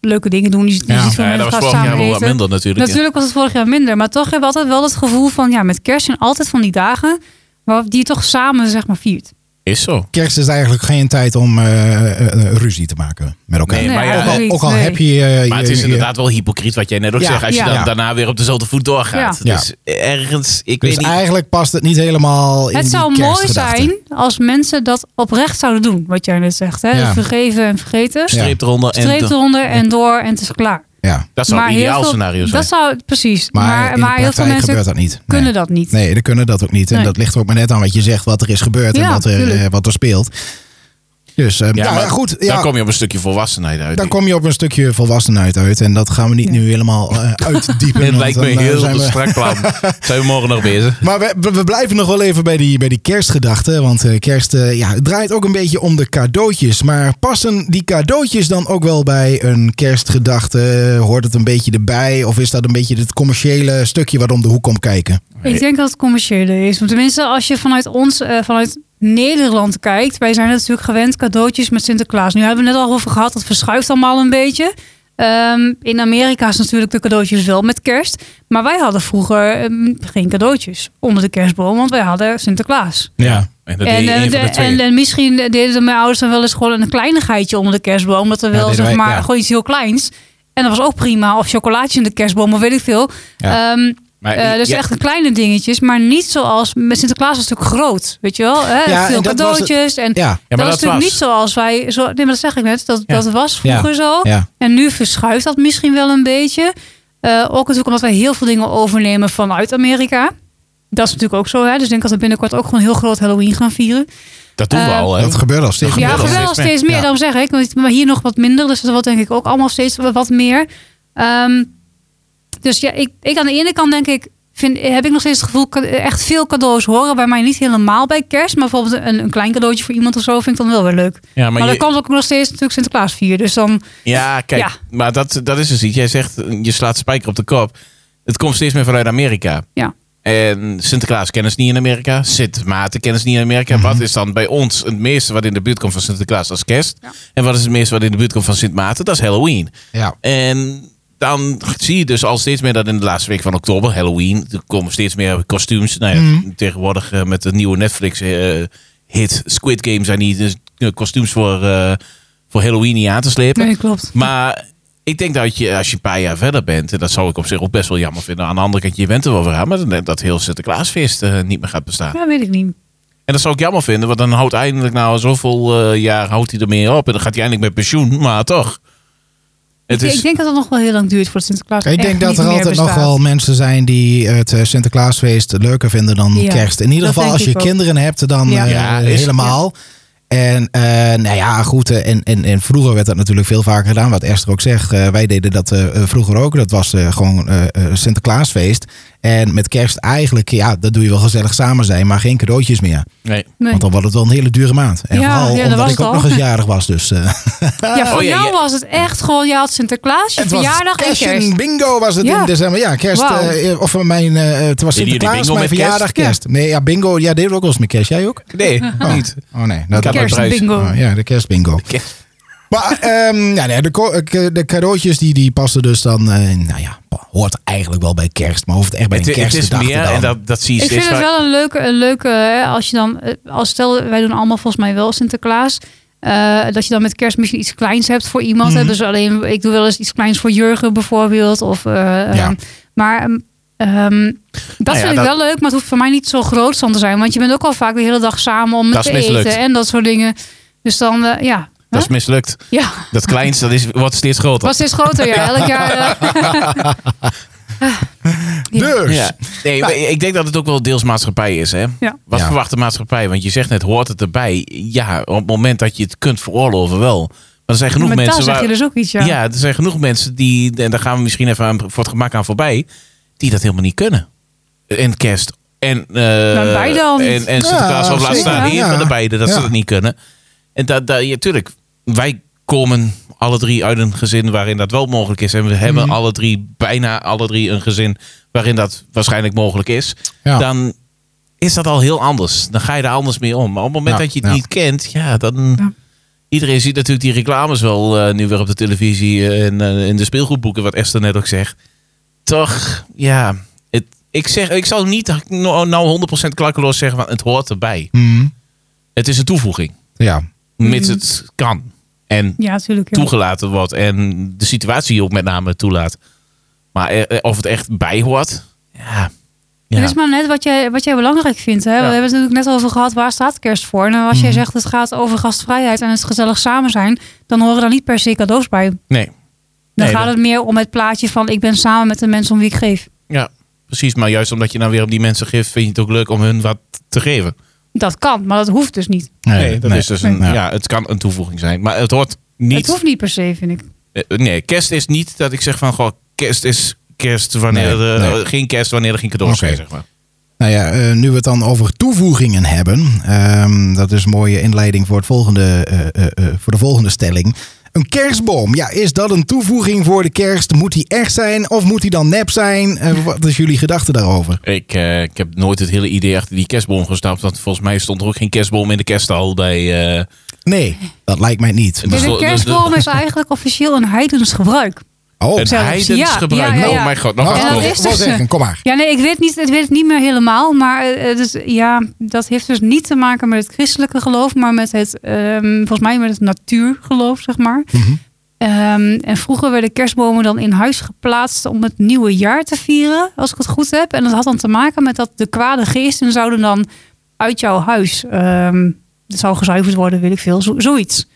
[SPEAKER 1] leuke dingen doen. Je, je
[SPEAKER 2] Ja.
[SPEAKER 1] ziet veel
[SPEAKER 3] Ja,
[SPEAKER 1] mensen
[SPEAKER 3] dat was
[SPEAKER 1] gaan
[SPEAKER 3] vorig jaar
[SPEAKER 1] samen
[SPEAKER 3] wel wat
[SPEAKER 1] eten.
[SPEAKER 3] minder natuurlijk. ja.
[SPEAKER 1] Natuurlijk was het vorig jaar minder. Maar toch hebben we altijd wel het gevoel van... Ja, met kerst zijn altijd van die dagen... waarop die je toch samen zeg maar viert.
[SPEAKER 3] Is zo.
[SPEAKER 2] Kerst is eigenlijk geen tijd om eh, eh, eh, ruzie te maken met elkaar.
[SPEAKER 3] Nee, maar ja,
[SPEAKER 2] ook, al,
[SPEAKER 1] eigenlijk
[SPEAKER 2] ook al
[SPEAKER 1] niet, nee.
[SPEAKER 2] heb je... eh,
[SPEAKER 3] Maar het
[SPEAKER 2] je-
[SPEAKER 3] is
[SPEAKER 2] je-
[SPEAKER 3] inderdaad wel hypocriet wat jij net ook
[SPEAKER 2] Ja.
[SPEAKER 3] zegt. Als je
[SPEAKER 1] Ja.
[SPEAKER 3] dan
[SPEAKER 2] Ja.
[SPEAKER 3] daarna weer op dezelfde voet doorgaat.
[SPEAKER 2] Ja.
[SPEAKER 3] Dus ergens, ik
[SPEAKER 2] Dus
[SPEAKER 3] weet niet.
[SPEAKER 2] eigenlijk past het niet helemaal in
[SPEAKER 1] Het
[SPEAKER 2] die
[SPEAKER 1] zou mooi
[SPEAKER 2] kerstgedachte.
[SPEAKER 1] zijn als mensen dat oprecht zouden doen. Wat jij net zegt. Hè?
[SPEAKER 2] Ja.
[SPEAKER 1] Vergeven en vergeten.
[SPEAKER 2] Ja.
[SPEAKER 3] Streep eronder en
[SPEAKER 1] Streep
[SPEAKER 3] dan-
[SPEAKER 1] eronder en door en het is klaar.
[SPEAKER 2] Ja,
[SPEAKER 3] Dat zou een
[SPEAKER 1] heel
[SPEAKER 3] ideaal
[SPEAKER 1] veel-
[SPEAKER 3] scenario zijn.
[SPEAKER 1] Dat zou, precies.
[SPEAKER 2] maar,
[SPEAKER 1] Maar,
[SPEAKER 2] in de
[SPEAKER 1] maar heel veel
[SPEAKER 2] praktijk
[SPEAKER 1] mensen
[SPEAKER 2] gebeurt dat niet. Nee.
[SPEAKER 1] kunnen dat niet.
[SPEAKER 2] Nee, die kunnen dat ook niet. En
[SPEAKER 1] Nee.
[SPEAKER 2] dat ligt er ook maar net aan wat je zegt, wat er is gebeurd en
[SPEAKER 1] Ja,
[SPEAKER 2] wat er,
[SPEAKER 1] tuurlijk.
[SPEAKER 2] eh, wat er speelt. Dus eh, ja,
[SPEAKER 3] maar
[SPEAKER 2] goed, ja,
[SPEAKER 3] Dan kom je op een stukje volwassenheid uit.
[SPEAKER 2] dan kom je op een stukje volwassenheid uit. En dat gaan we niet
[SPEAKER 1] Ja.
[SPEAKER 2] nu helemaal eh, uitdiepen.
[SPEAKER 3] het
[SPEAKER 2] want
[SPEAKER 3] lijkt me
[SPEAKER 2] dan, eh,
[SPEAKER 3] heel
[SPEAKER 2] zijn we-
[SPEAKER 3] strak plan. Zijn we morgen nog bezig?
[SPEAKER 2] Maar we, we- we blijven nog wel even bij die, bij die kerstgedachte. Want eh, kerst eh, ja, het draait ook een beetje om de cadeautjes. Maar passen die cadeautjes dan ook wel bij een kerstgedachte? Hoort het een beetje erbij? Of is dat een beetje het commerciële stukje wat om de hoek komt kijken?
[SPEAKER 1] Ik denk dat het commerciële is. Want Tenminste, als je vanuit ons, eh, vanuit Nederland kijkt. Wij zijn natuurlijk gewend cadeautjes met Sinterklaas. Nu hebben we het net al over gehad. Dat verschuift allemaal een beetje. Ehm, in Amerika is natuurlijk de cadeautjes wel met kerst. Maar wij hadden vroeger ehm, geen cadeautjes onder de kerstboom. Want wij hadden Sinterklaas.
[SPEAKER 2] Ja.
[SPEAKER 3] En dat
[SPEAKER 1] en,
[SPEAKER 3] deed je
[SPEAKER 1] eh,
[SPEAKER 3] één van de
[SPEAKER 1] de-
[SPEAKER 3] twee.
[SPEAKER 1] en, en misschien deden mijn ouders dan wel eens gewoon een kleinigheidje onder de kerstboom. Dat er
[SPEAKER 2] Ja,
[SPEAKER 1] wel,
[SPEAKER 2] deden
[SPEAKER 1] zeg
[SPEAKER 2] wij,
[SPEAKER 1] maar,
[SPEAKER 2] ja.
[SPEAKER 1] gewoon iets heel kleins. En dat was ook prima. Of chocolaatje in de kerstboom, of weet ik veel.
[SPEAKER 2] Ja.
[SPEAKER 1] Ehm,
[SPEAKER 3] maar,
[SPEAKER 1] eh, dus
[SPEAKER 3] ja,
[SPEAKER 1] echt kleine dingetjes, maar niet zoals met Sinterklaas was natuurlijk groot, weet je wel? Hè?
[SPEAKER 2] Ja,
[SPEAKER 1] Veel
[SPEAKER 2] en dat was het-
[SPEAKER 1] cadeautjes en
[SPEAKER 2] Ja.
[SPEAKER 3] ja, maar
[SPEAKER 1] dat,
[SPEAKER 3] dat,
[SPEAKER 1] is natuurlijk
[SPEAKER 3] was.
[SPEAKER 1] niet zoals wij. Zo, nee, maar dat zeg ik net. Dat,
[SPEAKER 3] Ja.
[SPEAKER 1] dat was vroeger zo.
[SPEAKER 2] Ja.
[SPEAKER 1] En nu verschuift dat misschien wel een beetje. Eh, ook natuurlijk omdat wij heel veel dingen overnemen vanuit Amerika. Dat is natuurlijk ook zo. Hè? Dus ik denk dat we binnenkort ook gewoon heel groot Halloween gaan vieren.
[SPEAKER 3] Dat doen we
[SPEAKER 1] Eh,
[SPEAKER 3] al. Hè?
[SPEAKER 2] Dat gebeurt al steeds.
[SPEAKER 1] Ja,
[SPEAKER 3] gebeurt al
[SPEAKER 1] wel steeds,
[SPEAKER 3] steeds meer.
[SPEAKER 1] meer.
[SPEAKER 2] Ja.
[SPEAKER 1] Daarom zeg ik, want- maar hier nog wat minder. Dus dat wordt denk ik ook allemaal steeds wat meer. Ehm, dus ja, ik, ik aan de ene kant denk ik, vind, heb ik nog steeds het gevoel, ka- echt veel cadeaus horen bij mij niet helemaal bij kerst. Maar bijvoorbeeld een, een klein cadeautje voor iemand of zo vind ik dan wel weer leuk. Maar,
[SPEAKER 3] ja, maar
[SPEAKER 1] dan
[SPEAKER 3] je-
[SPEAKER 1] komt ook nog steeds natuurlijk Sinterklaas vier. Dus dan,
[SPEAKER 3] ja, kijk.
[SPEAKER 1] Ja.
[SPEAKER 3] Maar dat, dat is dus iets. Jij zegt, je slaat spijker op de kop. Het komt steeds meer vanuit Amerika.
[SPEAKER 1] ja.
[SPEAKER 3] En Sinterklaas kennen ze niet in Amerika. Sint Maarten kennen ze niet in Amerika.
[SPEAKER 2] Mhm.
[SPEAKER 3] Wat is dan bij ons het meeste wat in de buurt komt van Sinterklaas? Dat is kerst.
[SPEAKER 1] Ja.
[SPEAKER 3] En wat is het meeste wat in de buurt komt van Sint Maarten? Dat is Halloween.
[SPEAKER 2] Ja.
[SPEAKER 3] En dan zie je dus al steeds meer dat in de laatste week van oktober, Halloween, er komen steeds meer kostuums. Nou ja,
[SPEAKER 1] Mhm.
[SPEAKER 3] Tegenwoordig eh, met de nieuwe Netflix-hit Squid Game zijn die dus, eh, kostuums voor, eh, voor Halloween niet aan te slepen.
[SPEAKER 1] Nee, klopt.
[SPEAKER 3] Maar ik denk dat je, als je een paar jaar verder bent, en dat zou ik op zich ook best wel jammer vinden. Aan de andere kant, je bent er wel weer aan, maar dat- dat heel Sinterklaasfeest eh, niet meer gaat bestaan.
[SPEAKER 1] Ja, weet ik niet.
[SPEAKER 3] En dat zou ik jammer vinden, want dan houdt eindelijk nou zoveel eh, jaar houdt hij ermee op. En dan gaat hij eindelijk met pensioen, maar toch. Het
[SPEAKER 1] ik,
[SPEAKER 3] is,
[SPEAKER 1] ik denk dat het nog wel heel lang duurt voordat Sinterklaas
[SPEAKER 2] Ik
[SPEAKER 1] echt
[SPEAKER 2] denk dat
[SPEAKER 1] niet
[SPEAKER 2] er
[SPEAKER 1] meer
[SPEAKER 2] altijd nog
[SPEAKER 1] bestaat.
[SPEAKER 2] wel mensen zijn die het eh, Sinterklaasfeest leuker vinden dan
[SPEAKER 1] Ja,
[SPEAKER 2] kerst. In ieder
[SPEAKER 1] dat
[SPEAKER 2] geval
[SPEAKER 1] denk
[SPEAKER 2] als je
[SPEAKER 1] ik ook.
[SPEAKER 2] kinderen hebt, dan
[SPEAKER 1] Ja.
[SPEAKER 2] eh,
[SPEAKER 3] Ja, is-
[SPEAKER 2] helemaal. En eh, nou ja, goed. eh, En, en, en vroeger werd dat natuurlijk veel vaker gedaan. Wat Esther ook zegt, eh, wij deden dat eh, vroeger ook. Dat was eh, gewoon eh, eh, Sinterklaasfeest. En met kerst eigenlijk, ja, dat doe je wel gezellig samen zijn, maar geen cadeautjes meer.
[SPEAKER 3] nee.
[SPEAKER 1] Nee.
[SPEAKER 2] Want dan wordt het wel een hele dure maand. En
[SPEAKER 1] Ja,
[SPEAKER 2] vooral
[SPEAKER 1] ja, dat
[SPEAKER 2] omdat
[SPEAKER 1] was
[SPEAKER 2] ik
[SPEAKER 1] het
[SPEAKER 2] ook
[SPEAKER 1] al.
[SPEAKER 2] nog eens jarig was. Dus eh,
[SPEAKER 1] Ja, voor
[SPEAKER 3] Oh, ja,
[SPEAKER 1] jou
[SPEAKER 3] ja.
[SPEAKER 1] was het echt gewoon, je had Sinterklaas, je
[SPEAKER 2] Het was
[SPEAKER 1] verjaardag en
[SPEAKER 2] cash
[SPEAKER 1] kerst.
[SPEAKER 2] in bingo was het
[SPEAKER 1] Ja.
[SPEAKER 2] in december. Ja, kerst.
[SPEAKER 1] Wauw.
[SPEAKER 2] eh, of mijn, eh, het was
[SPEAKER 3] Deden jullie
[SPEAKER 2] Sinterklaas,
[SPEAKER 3] bingo
[SPEAKER 2] mijn
[SPEAKER 3] met
[SPEAKER 2] verjaardag
[SPEAKER 3] kerst?
[SPEAKER 2] kerst. Nee, ja, bingo. Ja, deed ook wel eens met kerst. Jij ook?
[SPEAKER 3] Nee, niet.
[SPEAKER 2] Oh nee. Dat,
[SPEAKER 3] Ik had-
[SPEAKER 1] Kerst,
[SPEAKER 3] prijs.
[SPEAKER 1] bingo.
[SPEAKER 2] oh, ja, de kerstbingo.
[SPEAKER 3] Kerst.
[SPEAKER 2] Maar ehm, ja, nee, de, ko- eh, de cadeautjes die, die passen dus dan... eh, nou ja, hoort eigenlijk wel bij kerst. Maar hoeft het echt bij
[SPEAKER 3] Het,
[SPEAKER 2] een
[SPEAKER 3] het is
[SPEAKER 2] kerstgedachte
[SPEAKER 3] meer,
[SPEAKER 2] dan.
[SPEAKER 3] en dat, dat zie je
[SPEAKER 1] Ik
[SPEAKER 3] steeds
[SPEAKER 1] vind het
[SPEAKER 3] vaak-
[SPEAKER 1] wel een leuke, een leuke hè, als je dan, eh, als stel, wij doen allemaal volgens mij wel Sinterklaas. eh, dat je dan met kerst misschien iets kleins hebt voor
[SPEAKER 3] Mhm.
[SPEAKER 1] iemand. hè. Dus alleen, ik doe wel eens iets kleins voor Jurgen bijvoorbeeld. Of, eh, ehm, maar ehm, Ehm, dat
[SPEAKER 3] Nou ja,
[SPEAKER 1] vind ik
[SPEAKER 3] dat-
[SPEAKER 1] wel leuk, maar het hoeft voor mij niet zo groot van te zijn. Want je bent ook al vaak de hele dag samen om
[SPEAKER 3] Dat
[SPEAKER 1] te
[SPEAKER 3] is mislukt.
[SPEAKER 1] eten en dat soort dingen. Dus dan, eh, ja.
[SPEAKER 3] Dat is mislukt.
[SPEAKER 1] Ja,
[SPEAKER 3] Dat kleinste dat is, wordt steeds groter.
[SPEAKER 1] was steeds groter. Ja, elk jaar. eh. Ja.
[SPEAKER 2] Dus,
[SPEAKER 3] Ja. Nee, maar ik denk dat het ook wel deels maatschappij is. Hè?
[SPEAKER 1] Ja.
[SPEAKER 3] Wat
[SPEAKER 2] Ja.
[SPEAKER 3] verwacht de maatschappij? Want je zegt net, hoort het erbij? Ja, op het moment dat je het kunt veroorloven wel. Maar er zijn genoeg
[SPEAKER 1] Met taal
[SPEAKER 3] mensen...
[SPEAKER 1] zeg je dus ook iets, ja.
[SPEAKER 3] ja. er zijn genoeg mensen die... En daar gaan we misschien even aan, voor het gemak aan voorbij. Die dat helemaal niet kunnen. En kerst. En, eh
[SPEAKER 1] Nou, wij dan.
[SPEAKER 3] en, en
[SPEAKER 2] Ja,
[SPEAKER 3] Sinterklaas of laat
[SPEAKER 2] zeker,
[SPEAKER 3] staan. Een
[SPEAKER 2] ja.
[SPEAKER 3] van de beide, dat
[SPEAKER 2] Ja.
[SPEAKER 3] ze dat niet kunnen. En dat, dat, ja, tuurlijk, wij komen alle drie uit een gezin waarin dat wel mogelijk is. En we
[SPEAKER 1] Mhm.
[SPEAKER 3] hebben alle drie, bijna alle drie, een gezin waarin dat waarschijnlijk mogelijk is.
[SPEAKER 2] Ja.
[SPEAKER 3] Dan is dat al heel anders. Dan ga je er anders mee om. Maar op het moment
[SPEAKER 2] Ja,
[SPEAKER 3] dat je het
[SPEAKER 2] ja.
[SPEAKER 3] niet kent, ja, dan...
[SPEAKER 1] Ja.
[SPEAKER 3] Iedereen ziet natuurlijk die reclames wel eh, nu weer op de televisie eh, en eh, in de speelgoedboeken, wat Esther net ook zegt. Toch, ja. Het, ik, zeg, ik zal niet nou, nou 100% klakkeloos zeggen, want het hoort erbij.
[SPEAKER 2] Mhm.
[SPEAKER 3] Het is een toevoeging
[SPEAKER 2] ja.
[SPEAKER 3] mits het kan en
[SPEAKER 1] Mhm. Ja, natuurlijk. ja.
[SPEAKER 3] toegelaten wordt en de situatie ook met name toelaat. Maar eh, eh, of het echt bij hoort, ja. ja.
[SPEAKER 1] Het is maar net wat jij, wat jij belangrijk vindt. Hè? We hebben het natuurlijk net over gehad, waar staat kerst voor? En als jij
[SPEAKER 3] Mhm.
[SPEAKER 1] zegt, het gaat over gastvrijheid en het gezellig samen zijn, dan horen daar niet per se cadeaus bij. Dan
[SPEAKER 3] Nee, Nee,
[SPEAKER 1] gaat
[SPEAKER 3] dat-
[SPEAKER 1] het meer om het plaatje van, ik ben samen met de mensen om wie ik geef.
[SPEAKER 3] ja, precies. Maar juist omdat je dan weer op die mensen geeft, vind je het ook leuk om hun wat te geven.
[SPEAKER 1] Dat kan, maar dat hoeft dus niet.
[SPEAKER 3] Nee, dat is dus een,
[SPEAKER 2] Nee.
[SPEAKER 3] ja. het kan een toevoeging zijn. Maar het hoort niet.
[SPEAKER 1] Het hoeft niet per se, vind ik.
[SPEAKER 3] eh, Nee, kerst is niet dat ik zeg van, goh, kerst is kerst wanneer
[SPEAKER 2] Nee,
[SPEAKER 3] er eh,
[SPEAKER 2] nee.
[SPEAKER 3] geen kerst wanneer er geen cadeaus
[SPEAKER 2] Oké.
[SPEAKER 3] zijn, zeg maar.
[SPEAKER 2] Nou ja, eh, nu we het dan over toevoegingen hebben. ehm, dat is een mooie inleiding voor, het volgende, eh, eh, eh, voor de volgende stelling. Een kerstboom, ja, is dat een toevoeging voor de kerst? Moet die echt zijn of moet die dan nep zijn? Eh, wat is jullie gedachte daarover?
[SPEAKER 3] Ik, eh, ik heb nooit het hele idee achter die kerstboom gestapt. Want volgens mij stond er ook geen kerstboom in de kersthal bij... eh,
[SPEAKER 2] Nee, dat lijkt mij niet.
[SPEAKER 1] Kijk,
[SPEAKER 3] Dus dat-
[SPEAKER 1] een
[SPEAKER 3] dus dat-
[SPEAKER 1] kerstboom is eigenlijk officieel een heidens gebruik.
[SPEAKER 2] Oh,
[SPEAKER 3] Een
[SPEAKER 1] zelfs.
[SPEAKER 3] heidens
[SPEAKER 1] Ja,
[SPEAKER 3] gebruik.
[SPEAKER 1] ja, ja, ja.
[SPEAKER 3] Oh mijn god, nog
[SPEAKER 1] en
[SPEAKER 3] een
[SPEAKER 1] dat
[SPEAKER 3] boom.
[SPEAKER 1] is dus-
[SPEAKER 2] Wel zeggen, kom maar.
[SPEAKER 1] Ja, nee, ik weet, niet, ik weet het niet meer helemaal. Maar eh, eh, dus, ja, dat heeft dus niet te maken met het christelijke geloof, maar met het, ehm, volgens mij met het natuurgeloof, zeg maar.
[SPEAKER 2] Mhm.
[SPEAKER 1] Ehm, en vroeger werden kerstbomen dan in huis geplaatst om het nieuwe jaar te vieren, als ik het goed heb. En dat had dan te maken met dat de kwade geesten zouden dan uit jouw huis, ehm het zou gezuiverd worden, weet ik veel, zo- zoiets.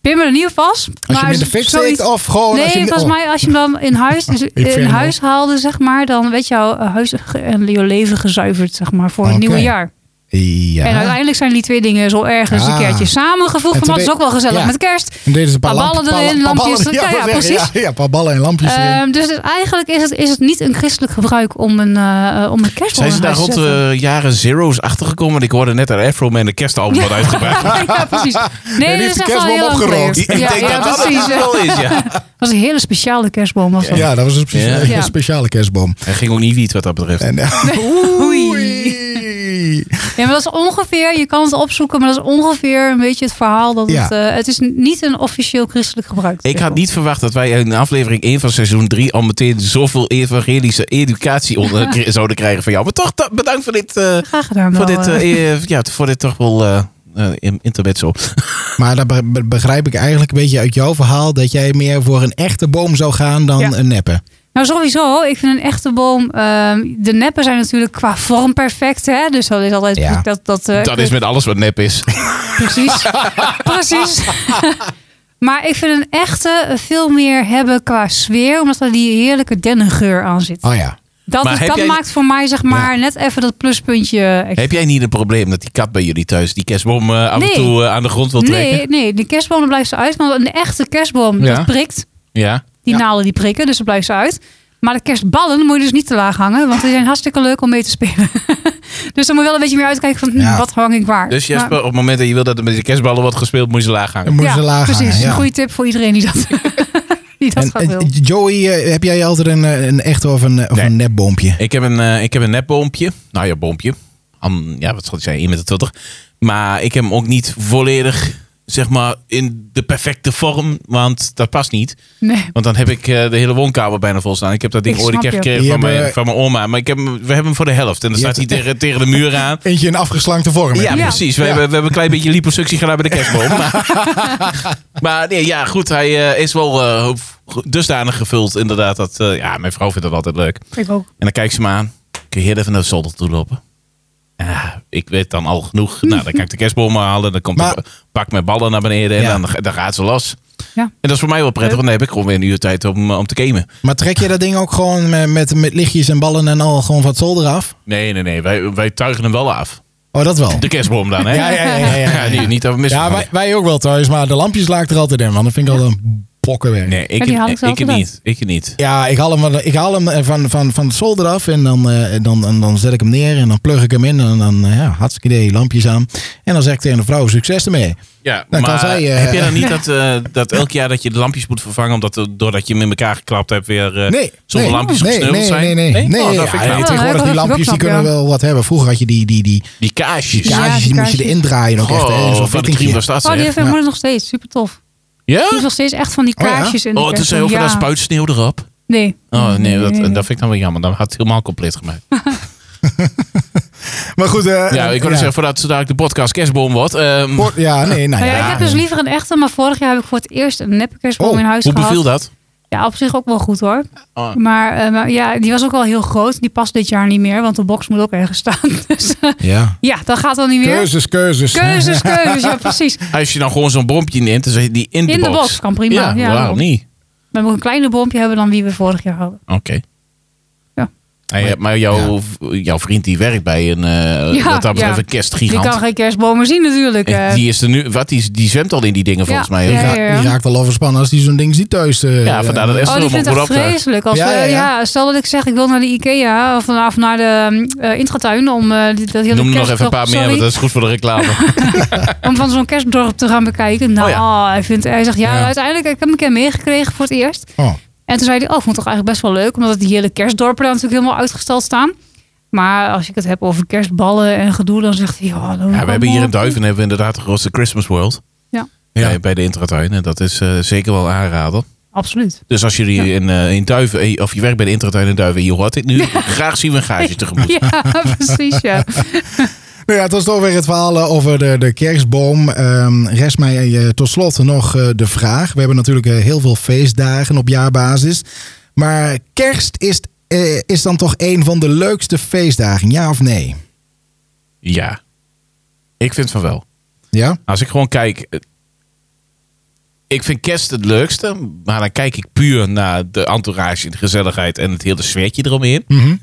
[SPEAKER 1] Pin me er niet op vast.
[SPEAKER 2] Als je
[SPEAKER 1] maar
[SPEAKER 2] hem in de fik
[SPEAKER 1] zoiets-
[SPEAKER 2] steekt of gewoon... als je,
[SPEAKER 1] Nee,
[SPEAKER 2] hem-
[SPEAKER 1] volgens
[SPEAKER 2] oh,
[SPEAKER 1] mij als je hem dan in huis, dus in
[SPEAKER 2] vind hem
[SPEAKER 1] huis haalde, zeg maar, dan werd jouw eh, huis ge- en jouw leven gezuiverd, zeg maar, voor het
[SPEAKER 2] Oké.
[SPEAKER 1] nieuwe jaar.
[SPEAKER 2] Oh. Ja.
[SPEAKER 1] En uiteindelijk zijn die twee dingen zo ergens
[SPEAKER 2] Ah.
[SPEAKER 1] een keertje samengevoegd,
[SPEAKER 2] En
[SPEAKER 1] want dat is
[SPEAKER 2] toen
[SPEAKER 1] ook wel gezellig
[SPEAKER 2] ja.
[SPEAKER 1] met kerst.
[SPEAKER 2] En deden ze een paar,
[SPEAKER 1] Paar ballen
[SPEAKER 2] lamp-
[SPEAKER 1] erin,
[SPEAKER 2] paar- paar
[SPEAKER 1] lampjes.
[SPEAKER 2] ballen-
[SPEAKER 1] Ja,
[SPEAKER 2] wou
[SPEAKER 1] ja,
[SPEAKER 2] zeggen,
[SPEAKER 1] precies.
[SPEAKER 2] Ja, ja, een paar ballen en lampjes erin.
[SPEAKER 1] Ehm, dus het- eigenlijk is het, is het niet een christelijk gebruik om een, eh, eh, om een kerstboom
[SPEAKER 3] Zijn ze
[SPEAKER 1] in
[SPEAKER 3] daar eh,
[SPEAKER 1] huis te
[SPEAKER 3] rond
[SPEAKER 1] zetten.
[SPEAKER 3] de jaren zero's achtergekomen? Want ik hoorde net dat Afro Man de kerstalbum had uitgebracht.
[SPEAKER 1] ja, precies. Nee,
[SPEAKER 2] heeft
[SPEAKER 1] dat is echt
[SPEAKER 2] de
[SPEAKER 1] wel
[SPEAKER 2] kerstboom
[SPEAKER 1] heel lang
[SPEAKER 2] opgerookt.
[SPEAKER 1] geleden.
[SPEAKER 3] Ik
[SPEAKER 1] Ja,
[SPEAKER 3] denk
[SPEAKER 1] ja,
[SPEAKER 3] dat dat
[SPEAKER 1] precies.
[SPEAKER 3] het wel is, ja.
[SPEAKER 1] Dat was een hele speciale kerstboom. Was dat.
[SPEAKER 2] Ja, dat was dus een spe-
[SPEAKER 3] Ja.
[SPEAKER 1] Ehm, Ja.
[SPEAKER 2] een speciale kerstboom.
[SPEAKER 3] Hij ging ook niet wiet wat dat betreft.
[SPEAKER 2] En, eh,
[SPEAKER 1] Oei. Ja, maar dat is ongeveer, je kan het opzoeken, maar dat is ongeveer een beetje het verhaal dat
[SPEAKER 2] Ja.
[SPEAKER 1] het, eh, het is niet een officieel christelijk gebruik.
[SPEAKER 3] Ik had niet verwacht dat wij in aflevering 1 van seizoen 3 al meteen zoveel evangelische educatie onder, kri- zouden krijgen van jou. Maar toch, da- bedankt voor dit, eh,
[SPEAKER 1] Graag gedaan.
[SPEAKER 3] voor
[SPEAKER 1] wel,
[SPEAKER 3] dit,
[SPEAKER 1] eh.
[SPEAKER 3] eh, eh, ja, voor dit toch wel eh eh, in- intermezzo.
[SPEAKER 2] Maar dat be- be- begrijp ik eigenlijk een beetje uit jouw verhaal dat jij meer voor een echte boom zou gaan dan
[SPEAKER 1] Ja.
[SPEAKER 2] een neppe.
[SPEAKER 1] Nou, sowieso. Ik vind een echte boom. ehm, de neppen zijn natuurlijk qua vorm perfect. Hè? Dus dat is altijd.
[SPEAKER 2] Ja.
[SPEAKER 1] Dat, dat, eh,
[SPEAKER 3] Dat is met alles wat nep is.
[SPEAKER 1] Precies. Precies. maar ik vind een echte veel meer hebben qua sfeer. Omdat er die heerlijke dennengeur aan zit.
[SPEAKER 2] Oh ja.
[SPEAKER 1] Dat,
[SPEAKER 3] Maar
[SPEAKER 1] is-
[SPEAKER 3] heb
[SPEAKER 1] dat
[SPEAKER 3] jij-
[SPEAKER 1] maakt voor mij zeg maar net even dat pluspuntje. extra.
[SPEAKER 3] Heb jij niet een probleem dat die kat bij jullie thuis die kerstboom eh, af
[SPEAKER 1] Nee.
[SPEAKER 3] en toe eh, aan de grond wil trekken?
[SPEAKER 1] Nee, nee, de kerstboom daar blijft ze uit. Want een echte kerstboom,
[SPEAKER 3] Ja.
[SPEAKER 1] dat prikt.
[SPEAKER 3] Ja.
[SPEAKER 1] Die
[SPEAKER 2] Ja.
[SPEAKER 1] naalden die prikken, dus dat blijft ze uit. Maar de kerstballen moet je dus niet te laag hangen. Want die zijn hartstikke leuk om mee te spelen. dus dan moet je wel een beetje meer uitkijken van hm,
[SPEAKER 2] Ja.
[SPEAKER 1] wat hang ik waar.
[SPEAKER 3] Dus
[SPEAKER 1] Maar-
[SPEAKER 3] Jesper, op het moment dat je wil dat er met de kerstballen wordt gespeeld, moet je ze laag
[SPEAKER 2] Dan
[SPEAKER 3] hangen.
[SPEAKER 2] moet je
[SPEAKER 1] ja,
[SPEAKER 2] ze laag
[SPEAKER 1] precies.
[SPEAKER 2] hangen, ja.
[SPEAKER 1] Een goede tip voor iedereen die dat, die dat
[SPEAKER 2] En,
[SPEAKER 1] gaat
[SPEAKER 2] eh,
[SPEAKER 1] wil.
[SPEAKER 2] Joey, eh, heb jij altijd een, eh, een echte of een, eh, of
[SPEAKER 3] Nee.
[SPEAKER 2] een nepboompje?
[SPEAKER 3] Ik heb een, eh, ik heb een nepboompje. Nou ja, boompje. Am- ja, wat zal ik zeggen, 1,20 meter. Maar ik heb hem ook niet volledig zeg maar, in de perfecte vorm. Want dat past niet.
[SPEAKER 1] Nee.
[SPEAKER 3] Want dan heb ik eh, de hele woonkamer bijna vol staan. Ik heb dat ding
[SPEAKER 1] Ik
[SPEAKER 3] ooit een
[SPEAKER 1] snap
[SPEAKER 3] keer
[SPEAKER 1] je.
[SPEAKER 3] gekregen
[SPEAKER 2] Die
[SPEAKER 3] van mijn,
[SPEAKER 2] hebben-
[SPEAKER 3] van mijn oma. Maar ik heb, hem- we hebben hem voor de helft. En dan
[SPEAKER 2] Je
[SPEAKER 3] staat hij
[SPEAKER 2] hebt-
[SPEAKER 3] tegen, tegen de muur aan.
[SPEAKER 2] Eentje in afgeslankte vorm.
[SPEAKER 1] Ja.
[SPEAKER 3] Ja, precies. We,
[SPEAKER 2] Ja.
[SPEAKER 3] Hebben, we hebben een klein beetje liposuctie gedaan bij de kerstboom. maar maar nee, ja, goed. Hij eh, is wel eh, ho- dusdanig gevuld, inderdaad. Dat, eh, ja, mijn vrouw vindt dat altijd leuk.
[SPEAKER 1] Ik ook.
[SPEAKER 3] En dan kijkt ze me aan. Kun je heel even naar de zolder toe lopen? Ah, ik weet dan al genoeg. Nou, dan kan ik de kerstboom halen. Dan komt
[SPEAKER 2] Maar-
[SPEAKER 3] de pak met ballen naar beneden. En
[SPEAKER 2] Ja.
[SPEAKER 3] dan, dan gaat ze los.
[SPEAKER 1] Ja.
[SPEAKER 3] En dat is voor mij wel prettig. Want dan heb ik gewoon weer een uur tijd om, eh, om te gamen.
[SPEAKER 2] Maar trek je dat ding ook gewoon met, met, met lichtjes en ballen en al gewoon van het zolder af?
[SPEAKER 3] Nee, nee, nee. Wij, wij tuigen hem wel af.
[SPEAKER 2] Oh, dat wel.
[SPEAKER 3] De kerstboom dan, hè?
[SPEAKER 2] Ja, ja, ja, ja, ja.
[SPEAKER 3] die- niet over mis.
[SPEAKER 2] Ja, wij, wij ook wel thuis, maar de lampjes laak ik er altijd in, want dat vind ik altijd een bokkenwerk.
[SPEAKER 3] Nee, ik,
[SPEAKER 1] Ja, die haal ik
[SPEAKER 3] ik,
[SPEAKER 1] zelf gedaan.
[SPEAKER 3] niet. Ik niet.
[SPEAKER 2] Ja, ik haal hem, van- ik haal hem eh, van, van, van het zolder af en dan, eh, dan, en dan zet ik hem neer en dan plug ik hem in en dan, eh, ja, hartstikke idee, lampjes aan. En dan zeg ik tegen de vrouw, succes ermee.
[SPEAKER 3] Ja,
[SPEAKER 2] Dan kan
[SPEAKER 3] maar
[SPEAKER 2] zij, eh,
[SPEAKER 3] heb je dan niet dat, eh, dat elk jaar dat je de lampjes moet vervangen... omdat er- doordat je hem in elkaar geklapt hebt weer... eh,
[SPEAKER 2] Nee.
[SPEAKER 3] Zoveel
[SPEAKER 2] nee,
[SPEAKER 3] lampjes
[SPEAKER 2] nee,
[SPEAKER 3] gesneuveld
[SPEAKER 2] nee,
[SPEAKER 3] zijn?
[SPEAKER 2] Nee, nee, nee.
[SPEAKER 3] Nee? Oh, dat
[SPEAKER 2] ja,
[SPEAKER 3] vind ik
[SPEAKER 2] ja,
[SPEAKER 3] wel.
[SPEAKER 1] Ja,
[SPEAKER 2] tegenwoordig
[SPEAKER 1] dat
[SPEAKER 2] die
[SPEAKER 1] is
[SPEAKER 2] lampjes die
[SPEAKER 1] knap,
[SPEAKER 2] kunnen
[SPEAKER 1] ja.
[SPEAKER 2] wel wat hebben. Vroeger had je die, die, die
[SPEAKER 3] Die kaarsjes.
[SPEAKER 1] Ja,
[SPEAKER 2] kaartjes, die moest je
[SPEAKER 1] kaartjes.
[SPEAKER 2] erin draaien ook echt. hè, in
[SPEAKER 3] Oh,
[SPEAKER 2] Zo'n
[SPEAKER 3] wat een prima
[SPEAKER 2] fittingje.
[SPEAKER 3] staat
[SPEAKER 1] Oh, die heeft
[SPEAKER 3] zeg.
[SPEAKER 1] mijn moeder nog steeds. Super tof.
[SPEAKER 3] Ja?
[SPEAKER 1] Die is nog steeds echt van die
[SPEAKER 2] Oh, ja?
[SPEAKER 1] kaarsjes. in de
[SPEAKER 3] Oh, toen
[SPEAKER 1] kerst.
[SPEAKER 3] zei over
[SPEAKER 1] Ja.
[SPEAKER 3] dat spuit sneeuw erop.
[SPEAKER 1] Nee.
[SPEAKER 3] Oh, nee, dat, dat vind ik dan wel jammer. Dan had het helemaal compleet gemaakt.
[SPEAKER 2] Maar goed, eh,
[SPEAKER 3] Ja, ik wilde zeggen, voordat zo dadelijk de podcast kerstboom wordt... ehm,
[SPEAKER 2] Voor- Ja, nee, nou
[SPEAKER 1] Nou
[SPEAKER 2] ja.
[SPEAKER 1] ja, ik heb dus liever een echte, maar vorig jaar heb ik voor het eerst een neppe kerstboom
[SPEAKER 2] Oh,
[SPEAKER 1] in huis
[SPEAKER 3] hoe
[SPEAKER 1] gehad.
[SPEAKER 3] beviel dat?
[SPEAKER 1] Ja, op zich ook wel goed hoor.
[SPEAKER 3] Oh.
[SPEAKER 1] Maar, eh, maar ja, die was ook wel heel groot. Die past dit jaar niet meer, want de box moet ook ergens staan. Dus eh,
[SPEAKER 2] Ja.
[SPEAKER 1] ja, dat gaat dan niet meer.
[SPEAKER 2] Keuzes, keuzes.
[SPEAKER 1] Keuzes, keuzes. Ja, precies.
[SPEAKER 3] Als je dan gewoon zo'n bompje neemt, dan zet je die in de
[SPEAKER 1] In de
[SPEAKER 3] box.
[SPEAKER 1] box kan prima.
[SPEAKER 3] Ja,
[SPEAKER 1] Ja,
[SPEAKER 3] waarom niet?
[SPEAKER 1] We moeten een kleiner boompje hebben dan wie we vorig jaar hadden.
[SPEAKER 3] Oké.
[SPEAKER 1] Ja.
[SPEAKER 3] Hey, eh, maar jouw, jouw vriend die werkt bij een, eh
[SPEAKER 1] Ja,
[SPEAKER 3] wat dat betreft,
[SPEAKER 1] ja.
[SPEAKER 3] een
[SPEAKER 1] Die
[SPEAKER 3] kerstgigant.
[SPEAKER 1] kan geen kerstbomen zien natuurlijk.
[SPEAKER 3] En
[SPEAKER 1] eh.
[SPEAKER 3] die is er nu, wat, die, is- die zwemt al in die dingen volgens mij.
[SPEAKER 2] Die,
[SPEAKER 1] Ja,
[SPEAKER 2] raakt-
[SPEAKER 1] ja, ja.
[SPEAKER 2] die raakt al overspannen als die zo'n ding ziet thuis. eh,
[SPEAKER 3] Ja, vandaar dat
[SPEAKER 2] eh,
[SPEAKER 3] Esther
[SPEAKER 1] Oh,
[SPEAKER 3] hem
[SPEAKER 1] die vindt
[SPEAKER 3] op
[SPEAKER 1] het echt
[SPEAKER 3] moet optuigen.
[SPEAKER 1] vreselijk. Als
[SPEAKER 2] Ja,
[SPEAKER 1] we-
[SPEAKER 2] ja,
[SPEAKER 1] ja,
[SPEAKER 2] ja.
[SPEAKER 1] stel dat ik zeg, ik wil naar de Ikea of, naar- of naar de eh intratuin om eh, die- dat hele
[SPEAKER 3] Noem er nog even een
[SPEAKER 1] kerstdorp-
[SPEAKER 3] paar meer,
[SPEAKER 1] sorry,
[SPEAKER 3] want dat is goed voor de reclame.
[SPEAKER 1] om van zo'n kerstdorp te gaan bekijken. Nou,
[SPEAKER 3] Oh,
[SPEAKER 1] hij, vindt, hij zegt, ja,
[SPEAKER 2] Ja.
[SPEAKER 1] uiteindelijk, ik heb hem een keer meegekregen voor het eerst.
[SPEAKER 2] Oh,
[SPEAKER 1] En toen zei hij, oh, ik vond het toch eigenlijk best wel leuk. Omdat die hele kerstdorpen daar natuurlijk helemaal uitgestald staan. Maar als ik het heb over kerstballen en gedoe, dan zegt hij... Ja, dan
[SPEAKER 3] ja, we hebben hier in Duiven hebben we inderdaad de grootste Christmas World.
[SPEAKER 1] Ja.
[SPEAKER 3] Bij- Bij, de Intratuin. En dat is eh, zeker wel aanraden.
[SPEAKER 1] Absoluut.
[SPEAKER 3] Dus als jullie
[SPEAKER 1] Ja.
[SPEAKER 3] in, eh, in Duiven, eh, of je werkt bij de Intratuin in Duiven, en je hoort dit nu, graag zien we een gaatje tegemoet.
[SPEAKER 1] Ja, precies, ja.
[SPEAKER 2] Nou ja, tot zover het verhaal eh, over de, de kerstboom. Ehm, rest mij eh, tot slot nog eh, de vraag. We hebben natuurlijk eh, heel veel feestdagen op jaarbasis. Maar kerst is, eh, is dan toch een van de leukste feestdagen, ja of nee?
[SPEAKER 3] Ja. Ik vind van wel.
[SPEAKER 2] Ja?
[SPEAKER 3] Als ik gewoon kijk. eh, Ik vind kerst het leukste, maar dan kijk ik puur naar de entourage, de gezelligheid en het hele sfeertje eromheen.
[SPEAKER 1] Hm.
[SPEAKER 2] Mhm.